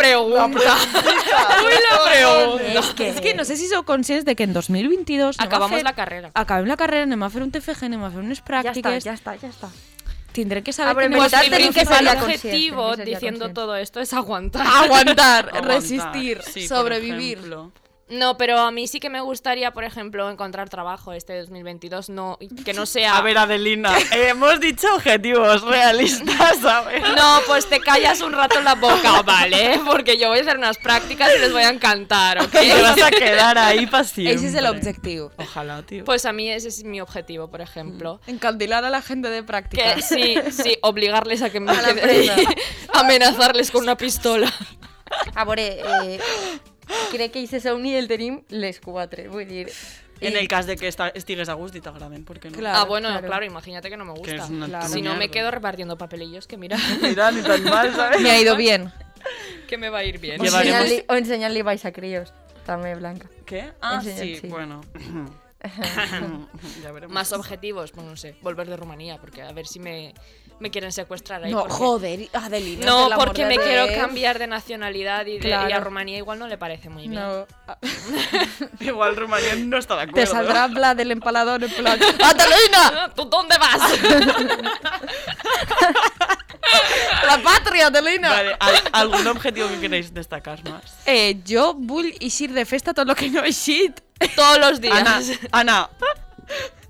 Speaker 4: pregunta! ¡Uy, la pregunta!
Speaker 2: És que...
Speaker 1: És que no sé si sou conscients de que en 2022... anem a
Speaker 4: Acabamos
Speaker 1: fer-
Speaker 4: la carrera.
Speaker 1: Acabem la carrera, anem a fer un TFG, anem a fer unes
Speaker 2: Ja està,
Speaker 1: pràctiques...
Speaker 2: ja està, ja està.
Speaker 1: Tindrem que
Speaker 2: A
Speaker 1: saber...
Speaker 2: veure,
Speaker 1: quin és
Speaker 2: en
Speaker 4: Pues
Speaker 2: veritat,
Speaker 1: el
Speaker 4: mi
Speaker 2: tenim que
Speaker 4: principal
Speaker 2: sería
Speaker 4: objetivo
Speaker 2: consciente, sería
Speaker 4: diciendo
Speaker 2: consciente.
Speaker 4: todo esto es
Speaker 1: *laughs*
Speaker 4: aguantar.
Speaker 1: Aguantar,
Speaker 3: Aguantar,
Speaker 1: resistir,
Speaker 3: sí, por
Speaker 1: sobrevivir.
Speaker 3: ejemplo.
Speaker 4: No, pero a mí sí que me gustaría, por ejemplo, encontrar trabajo este 2022, no, que no
Speaker 3: *laughs*
Speaker 4: sea...
Speaker 3: A
Speaker 1: *laughs*
Speaker 3: ver, Adelina, eh, hemos dicho objetivos realistas, ¿sabes?
Speaker 4: No, pues te callas un rato
Speaker 3: *laughs*
Speaker 4: la boca, ¿vale? Porque yo voy a hacer unas prácticas y les voy a encantar, ¿ok?
Speaker 3: *laughs* Y *laughs* te vas a quedar ahí para siempre.
Speaker 1: Ese es el objectiu.
Speaker 3: Ojalá, tío.
Speaker 4: *laughs* Pues a mí ese es mi objetivo, por
Speaker 3: Mm.
Speaker 4: ejemplo.
Speaker 1: Encandilar a la gente de práctica.
Speaker 4: Que sí, sí,
Speaker 3: *laughs*
Speaker 4: obligarles a que me
Speaker 2: A la
Speaker 4: quede-
Speaker 2: presa.
Speaker 4: *laughs* amenazarles con una pistola.
Speaker 2: A veure, Ah, eh, crec que aquest somni el tenim les quatre, vull dir...
Speaker 3: en el caso de que esta- estigues a gusto y te agraden, porque no.
Speaker 1: Claro.
Speaker 4: Ah, bueno,
Speaker 2: claro.
Speaker 4: claro, imagínate que no me
Speaker 3: Que
Speaker 4: gusta.
Speaker 3: es una
Speaker 1: Claro.
Speaker 4: Si no me
Speaker 3: mierda.
Speaker 4: quedo repartiendo papelillos,
Speaker 3: *laughs*
Speaker 4: que mira,
Speaker 3: Mira, ni tan mal, ¿sabes?
Speaker 1: Me ha ido bien.
Speaker 4: que me va a ir bien.
Speaker 2: O
Speaker 3: Llevaremos-
Speaker 2: ensenyant-li o ensenyant-li baix a crios, també, Blanca.
Speaker 3: ¿Qué?
Speaker 1: *laughs*
Speaker 3: Ah,
Speaker 2: Enseñar,
Speaker 3: sí,
Speaker 2: sí.
Speaker 3: bueno. *laughs* ya veremos.
Speaker 4: Más objetivos, pues no sé, volver de Rumanía, porque a ver si me, me quieren secuestrar ahí.
Speaker 5: No,
Speaker 4: porque-
Speaker 5: joder, Adeli.
Speaker 4: No,
Speaker 5: del amor
Speaker 4: porque
Speaker 5: de
Speaker 4: me quiero
Speaker 5: Dios.
Speaker 4: cambiar de nacionalidad y, de- y a
Speaker 5: Claro.
Speaker 4: Rumanía igual no le parece muy bien.
Speaker 1: No.
Speaker 3: Igual Rumanía no está de acuerdo.
Speaker 1: Te saldrá Vlad del empalador en
Speaker 4: *laughs*
Speaker 1: plan.
Speaker 5: ¡Adelina!
Speaker 4: Ah, ¿Tú dónde vas?
Speaker 1: ¡La patria, Adelina!
Speaker 3: Vale, al- ¿algún objetivo que queréis destacar más?
Speaker 1: Eh, yo vull eixir de festa tot lo que no he eixit.
Speaker 4: Todos los días.
Speaker 3: Ana, *laughs* Ana.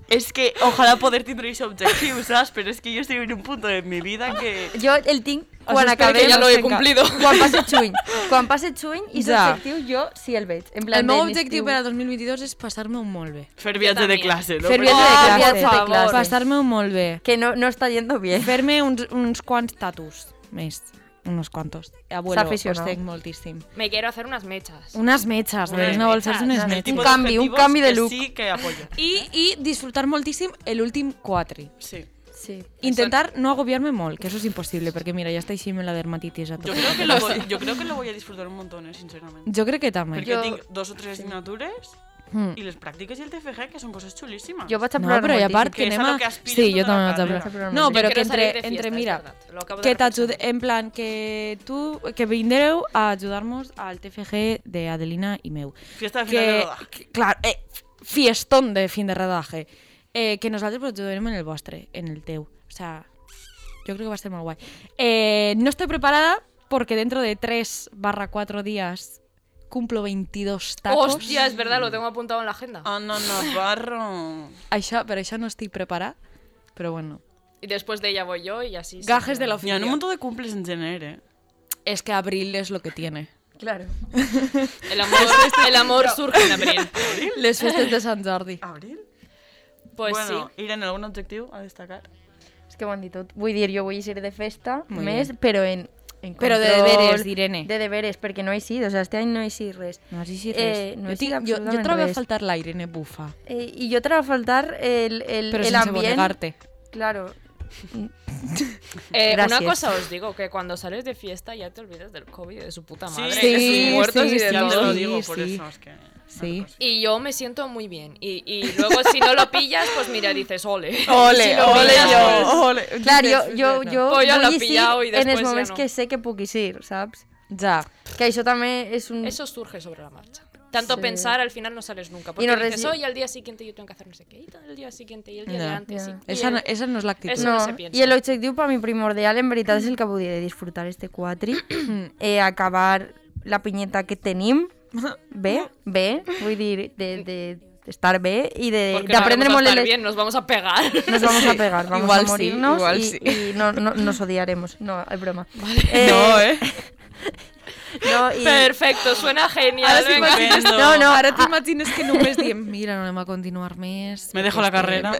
Speaker 3: Es que ojalá poder tindréis objectivos, ¿sabes? Pero es que yo estoy en un punto de mi vida que...
Speaker 2: Jo el tinc quan
Speaker 1: espero
Speaker 2: acabem...
Speaker 1: que ja
Speaker 4: lo he
Speaker 1: venga.
Speaker 4: cumplido.
Speaker 2: Quan passi juny. Quan passi juny i
Speaker 1: Ja.
Speaker 2: l'objectiu jo sí el veig. En plan
Speaker 1: El meu
Speaker 2: de
Speaker 1: objectiu
Speaker 2: l'estiu.
Speaker 1: per a 2022 és passar-me-ho molt bé.
Speaker 3: Fer
Speaker 4: Yo
Speaker 3: viatge de
Speaker 4: también.
Speaker 3: clase, ¿no?
Speaker 2: Fer
Speaker 3: Pero-
Speaker 2: viatge de
Speaker 1: Ah,
Speaker 2: clase,
Speaker 1: por
Speaker 2: de clase.
Speaker 1: Passar-me-ho molt bé.
Speaker 2: Que no, no està yendo bien.
Speaker 1: Fer-me uns, uns quants tatus més. Uns quantos. Abuelo,
Speaker 2: aficionat.
Speaker 1: os tenc moltíssim.
Speaker 4: Me quiero hacer unas mechas.
Speaker 1: Unes metges,
Speaker 3: Unes
Speaker 1: veus? No vols
Speaker 4: metges,
Speaker 1: fer-se unes
Speaker 2: unes
Speaker 3: este
Speaker 1: metges.
Speaker 3: tipo
Speaker 2: Un
Speaker 3: de
Speaker 2: canvi, un
Speaker 3: objetivos
Speaker 2: canvi de
Speaker 3: que
Speaker 2: look.
Speaker 3: Sí, que apoyo.
Speaker 1: I, I disfrutar moltíssim l'últim quatri.
Speaker 3: Sí.
Speaker 2: Sí.
Speaker 1: Intentar no agobiar-me molt, que això és impossible, perquè mira, ja està eixint la dermatitis a
Speaker 3: Yo
Speaker 1: tot.
Speaker 3: creo, que lo *laughs* voy, yo creo que lo voy a disfrutar un montón, eh, sinceramente.
Speaker 1: Jo crec que també.
Speaker 3: Porque
Speaker 2: Yo-
Speaker 3: tinc dos o tres asignaturas
Speaker 1: Mm.
Speaker 3: y les prácticas y el TFG, que son cosas chulísimas.
Speaker 2: Jo vaig
Speaker 1: No,
Speaker 2: aprovar
Speaker 1: però i a
Speaker 2: moltíssim.
Speaker 1: part
Speaker 3: Que
Speaker 1: que
Speaker 3: és
Speaker 1: anem
Speaker 3: a
Speaker 1: a...
Speaker 3: lo que aspires
Speaker 1: Sí, jo
Speaker 3: tota
Speaker 1: també
Speaker 3: la
Speaker 1: vaig
Speaker 3: carrera.
Speaker 1: aprovar.
Speaker 2: Vas aprobar
Speaker 1: No,
Speaker 2: molt
Speaker 1: però
Speaker 4: Yo
Speaker 1: que
Speaker 4: quiero
Speaker 1: entre,
Speaker 4: salir de fiesta,
Speaker 1: entre
Speaker 4: es
Speaker 1: mira,
Speaker 4: verdad, lo acabo de
Speaker 1: que
Speaker 4: reflexionar.
Speaker 1: t'ajud... En plan, que tu... Que vindreu a ajudar-nos al TFG de Adelina i meu.
Speaker 3: Fiesta de final de
Speaker 1: Que,
Speaker 3: rodaje.
Speaker 1: que clar, eh, fiestón de fin de rodaje. Eh, que nosaltres pues, ajudarem en el vostre, en el teu. O sea, yo creo que va a ser muy guay. Eh, no estoy preparada porque dentro de 3 barra 4 días cumplo 22 tacos.
Speaker 4: Hostia, es verdad, lo tengo apuntado en la agenda.
Speaker 3: Ana *laughs* Navarro.
Speaker 1: Això, però això no estic preparada, però bueno.
Speaker 4: Y después de ella voy yo y así.
Speaker 1: Gajes
Speaker 4: siempre.
Speaker 1: de la
Speaker 3: Mira, en un
Speaker 1: oficina.
Speaker 3: montón de cumples en general, eh.
Speaker 1: Es que abril es lo que tiene.
Speaker 2: Claro.
Speaker 4: El amor, el amor surge en abril.
Speaker 1: Les festes de Sant Jordi.
Speaker 3: ¿Abril?
Speaker 4: Pues
Speaker 3: bueno,
Speaker 4: sí.
Speaker 3: Irene, ¿algún objetivo a destacar?
Speaker 2: És que ho han dit tot. Vull dir, jo vull ser de festa
Speaker 1: Muy
Speaker 2: més, però en, en
Speaker 1: Però de
Speaker 2: control,
Speaker 1: deberes, d'Irene.
Speaker 2: De deberes, perquè no he sido. O sea, este any no he sido res.
Speaker 1: No, sí, sí,
Speaker 2: Eh,
Speaker 1: res.
Speaker 2: no
Speaker 1: jo,
Speaker 2: he sido
Speaker 1: tinc, jo, jo
Speaker 2: absolutament
Speaker 1: trobo a
Speaker 2: res.
Speaker 1: faltar l'aire, ne bufa.
Speaker 2: Eh, y yo te va a faltar el, el,
Speaker 1: Però
Speaker 2: el
Speaker 1: sense
Speaker 2: ambiente.
Speaker 1: bonegarte.
Speaker 2: Claro.
Speaker 4: Eh, una
Speaker 2: Gracias.
Speaker 4: cosa os digo, que cuando sales de fiesta ya te olvidas del COVID y de su puta madre.
Speaker 1: Sí,
Speaker 4: de sus
Speaker 1: sí,
Speaker 4: muertos y de
Speaker 1: sí,
Speaker 3: ya te
Speaker 4: todo.
Speaker 3: lo digo, por
Speaker 1: sí.
Speaker 3: eso es que... pues,
Speaker 1: Sí.
Speaker 4: Y yo me siento muy bien. Y, y luego si no lo pillas, pues mira,
Speaker 1: *laughs*
Speaker 4: dices, ole.
Speaker 1: Ole,
Speaker 4: ole yo,
Speaker 1: ole.
Speaker 2: Claro, yo, yo, yo
Speaker 4: Pues ya
Speaker 2: vull
Speaker 4: l'ha
Speaker 2: eixir
Speaker 4: pillado i
Speaker 2: en
Speaker 4: després
Speaker 2: els
Speaker 4: ja
Speaker 2: moments
Speaker 4: no.
Speaker 2: que sé que puc eixir, saps?
Speaker 1: Ja.
Speaker 2: Que això també és un...
Speaker 4: pues, Eso surge sobre la marcha. Tanto
Speaker 2: Sí.
Speaker 4: pensar, al final no sales nunca. Porque
Speaker 2: no
Speaker 4: dices,
Speaker 2: reci-
Speaker 4: hoy al día siguiente yo tengo que hacer no sé qué, y el día siguiente, y el día
Speaker 1: Ya.
Speaker 4: de antes.
Speaker 2: Ya.
Speaker 4: Y, y
Speaker 1: Esa,
Speaker 4: el-
Speaker 1: no, eh, esa no és l'actitud.
Speaker 4: Eso
Speaker 2: no,
Speaker 4: no se piensa.
Speaker 2: i l'objectiu per mi primordial en veritat és el que volia de disfrutar este
Speaker 1: *coughs*
Speaker 2: quatri eh, acabar la pinyeta que tenim bé, bé vull dir, de, de estar bé i de-
Speaker 4: porque no
Speaker 2: d'aprendre
Speaker 4: vamos
Speaker 2: molt
Speaker 4: a estar
Speaker 2: les-
Speaker 4: bien, nos vamos a pegar.
Speaker 1: *laughs*
Speaker 2: Nos vamos a pegar, vamos
Speaker 1: Igual
Speaker 2: a
Speaker 1: sí,
Speaker 2: morirnos
Speaker 1: igual
Speaker 2: y,
Speaker 1: sí.
Speaker 2: y no, no- nos odiaremos. No, es broma.
Speaker 1: No, eh?
Speaker 2: no, y-
Speaker 4: Perfecto, suena genial.
Speaker 1: Ahora sí
Speaker 4: venga.
Speaker 1: me-
Speaker 3: Estupendo.
Speaker 2: No, no,
Speaker 1: Ara t'imagines que només diem, mira, no anem a continuar més.
Speaker 3: Me dejo la
Speaker 1: *laughs*
Speaker 3: carrera.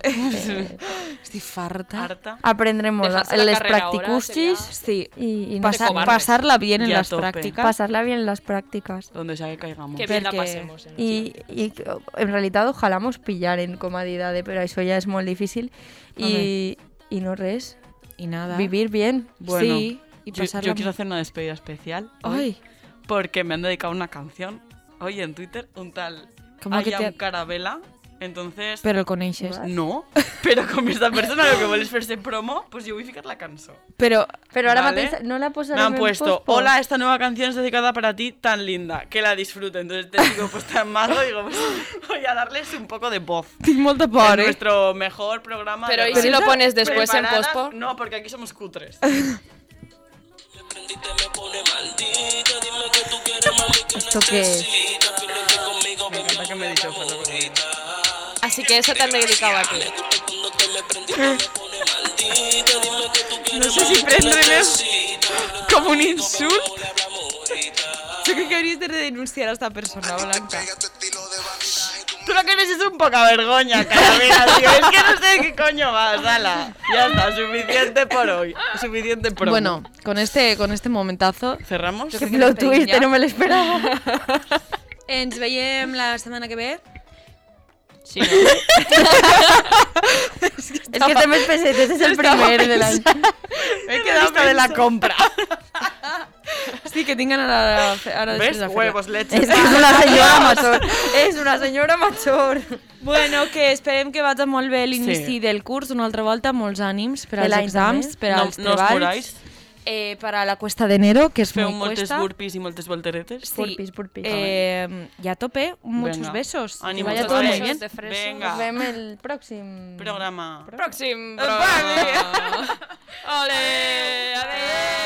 Speaker 3: *laughs*
Speaker 1: Estic farta.
Speaker 3: Harta.
Speaker 2: aprendremos
Speaker 4: Dejarse la
Speaker 2: les
Speaker 4: carrera ahora
Speaker 2: practicusis
Speaker 1: Sí.
Speaker 2: y, y no
Speaker 1: Passar,
Speaker 2: sé,
Speaker 4: cobardes.
Speaker 1: Passar-la bien en
Speaker 3: Ja a
Speaker 1: les
Speaker 3: tope.
Speaker 1: pràctiques.
Speaker 2: pasarla bien en las prácticas.
Speaker 3: Donde sea que caigamos.
Speaker 4: Que bien la
Speaker 1: Porque-
Speaker 4: pasemos. ¿eh? en el
Speaker 2: Y, y que, en realidad ojalá mos pillar en comodidad, pero eso ya es muy difícil. Y, y no res,
Speaker 1: I nada.
Speaker 2: vivir bien.
Speaker 3: Bueno,
Speaker 1: sí, i
Speaker 3: Yo,
Speaker 1: passar-la...
Speaker 3: yo quiero hacer una despedida especial.
Speaker 1: Ai,
Speaker 3: Porque me han dedicado una canción. Hoy en Twitter, un tal
Speaker 1: ¿Cómo que te ha-
Speaker 3: Ayam Carabela. Entonces,
Speaker 1: però el coneixes.
Speaker 3: no. *laughs* Pero con esta persona lo que vuelves a verse promo, pues yo voy a ficar la canción.
Speaker 1: Però
Speaker 2: Pero ahora
Speaker 3: Vale.
Speaker 2: mateix no la
Speaker 3: Me
Speaker 2: posarem
Speaker 3: han
Speaker 2: en
Speaker 3: puesto,
Speaker 2: pospo.
Speaker 3: hola, esta nueva canción es dedicada para ti, tan linda, que la disfruten. Entonces te digo, pues tan malo, *laughs* digo, pues voy a darles un poco de voz.
Speaker 1: tinc molta
Speaker 3: En
Speaker 1: por, eh?
Speaker 3: nuestro mejor programa.
Speaker 4: Pero,
Speaker 3: de
Speaker 4: ¿y si
Speaker 3: radio.
Speaker 4: lo pones después en
Speaker 3: ¿Preparadas?
Speaker 4: pospo?
Speaker 3: No, porque aquí somos cutres.
Speaker 2: Esto que es?
Speaker 3: La que me he dicho, fue lo que-
Speaker 4: Así que eso te han dedicado a ti.
Speaker 3: No sé si prendreles como un insulto.
Speaker 1: Jo crec que hauries de denunciar a esta persona, Blanca.
Speaker 3: Tú lo que eres es un poca vergüenza, calavera, tío. Es que no sé de qué coño vas, dala. Ya está, suficiente por hoy. Suficiente por
Speaker 1: Bueno, con este, con este momentazo...
Speaker 3: cerramos.
Speaker 2: Que plot twist,
Speaker 1: ya.
Speaker 2: no me lo esperaba.
Speaker 1: Ens veiem la setmana que ve. *laughs*
Speaker 4: Sí, ¿no?
Speaker 2: es que este temes
Speaker 1: *laughs*
Speaker 2: pesetes, es el primer de la...
Speaker 3: Me he quedado de la compra.
Speaker 1: Sí, que tengan ahora, ahora después
Speaker 3: ¿Ves?
Speaker 1: la feria.
Speaker 3: Huevos, leche. Ah.
Speaker 2: Es, que és una senyora major. És una senyora major.
Speaker 1: Bueno, que esperem que vagi molt bé l'inici
Speaker 3: Sí.
Speaker 1: del curs. Una altra volta, molts ànims per
Speaker 2: Que
Speaker 1: als
Speaker 2: l'any
Speaker 1: exams,
Speaker 2: també.
Speaker 1: per
Speaker 3: No-
Speaker 1: als
Speaker 3: no us
Speaker 1: treballs.
Speaker 3: morais.
Speaker 1: eh, per a la cuesta d'enero, que és
Speaker 3: Feu
Speaker 1: muy
Speaker 3: moltes
Speaker 1: cuesta.
Speaker 3: burpees y moltes volteretes.
Speaker 2: Burpees, burpees.
Speaker 1: Eh, ya tope, muchos
Speaker 3: Venga.
Speaker 1: besos. Que
Speaker 3: Ánimo,
Speaker 1: vaya
Speaker 4: Muchos
Speaker 1: todo muy
Speaker 4: besos
Speaker 1: bien.
Speaker 4: de fresos.
Speaker 3: Venga.
Speaker 2: Nos vemos el próximo.
Speaker 3: Programa.
Speaker 4: Próximo.
Speaker 3: Vale.
Speaker 4: Ole, adeu.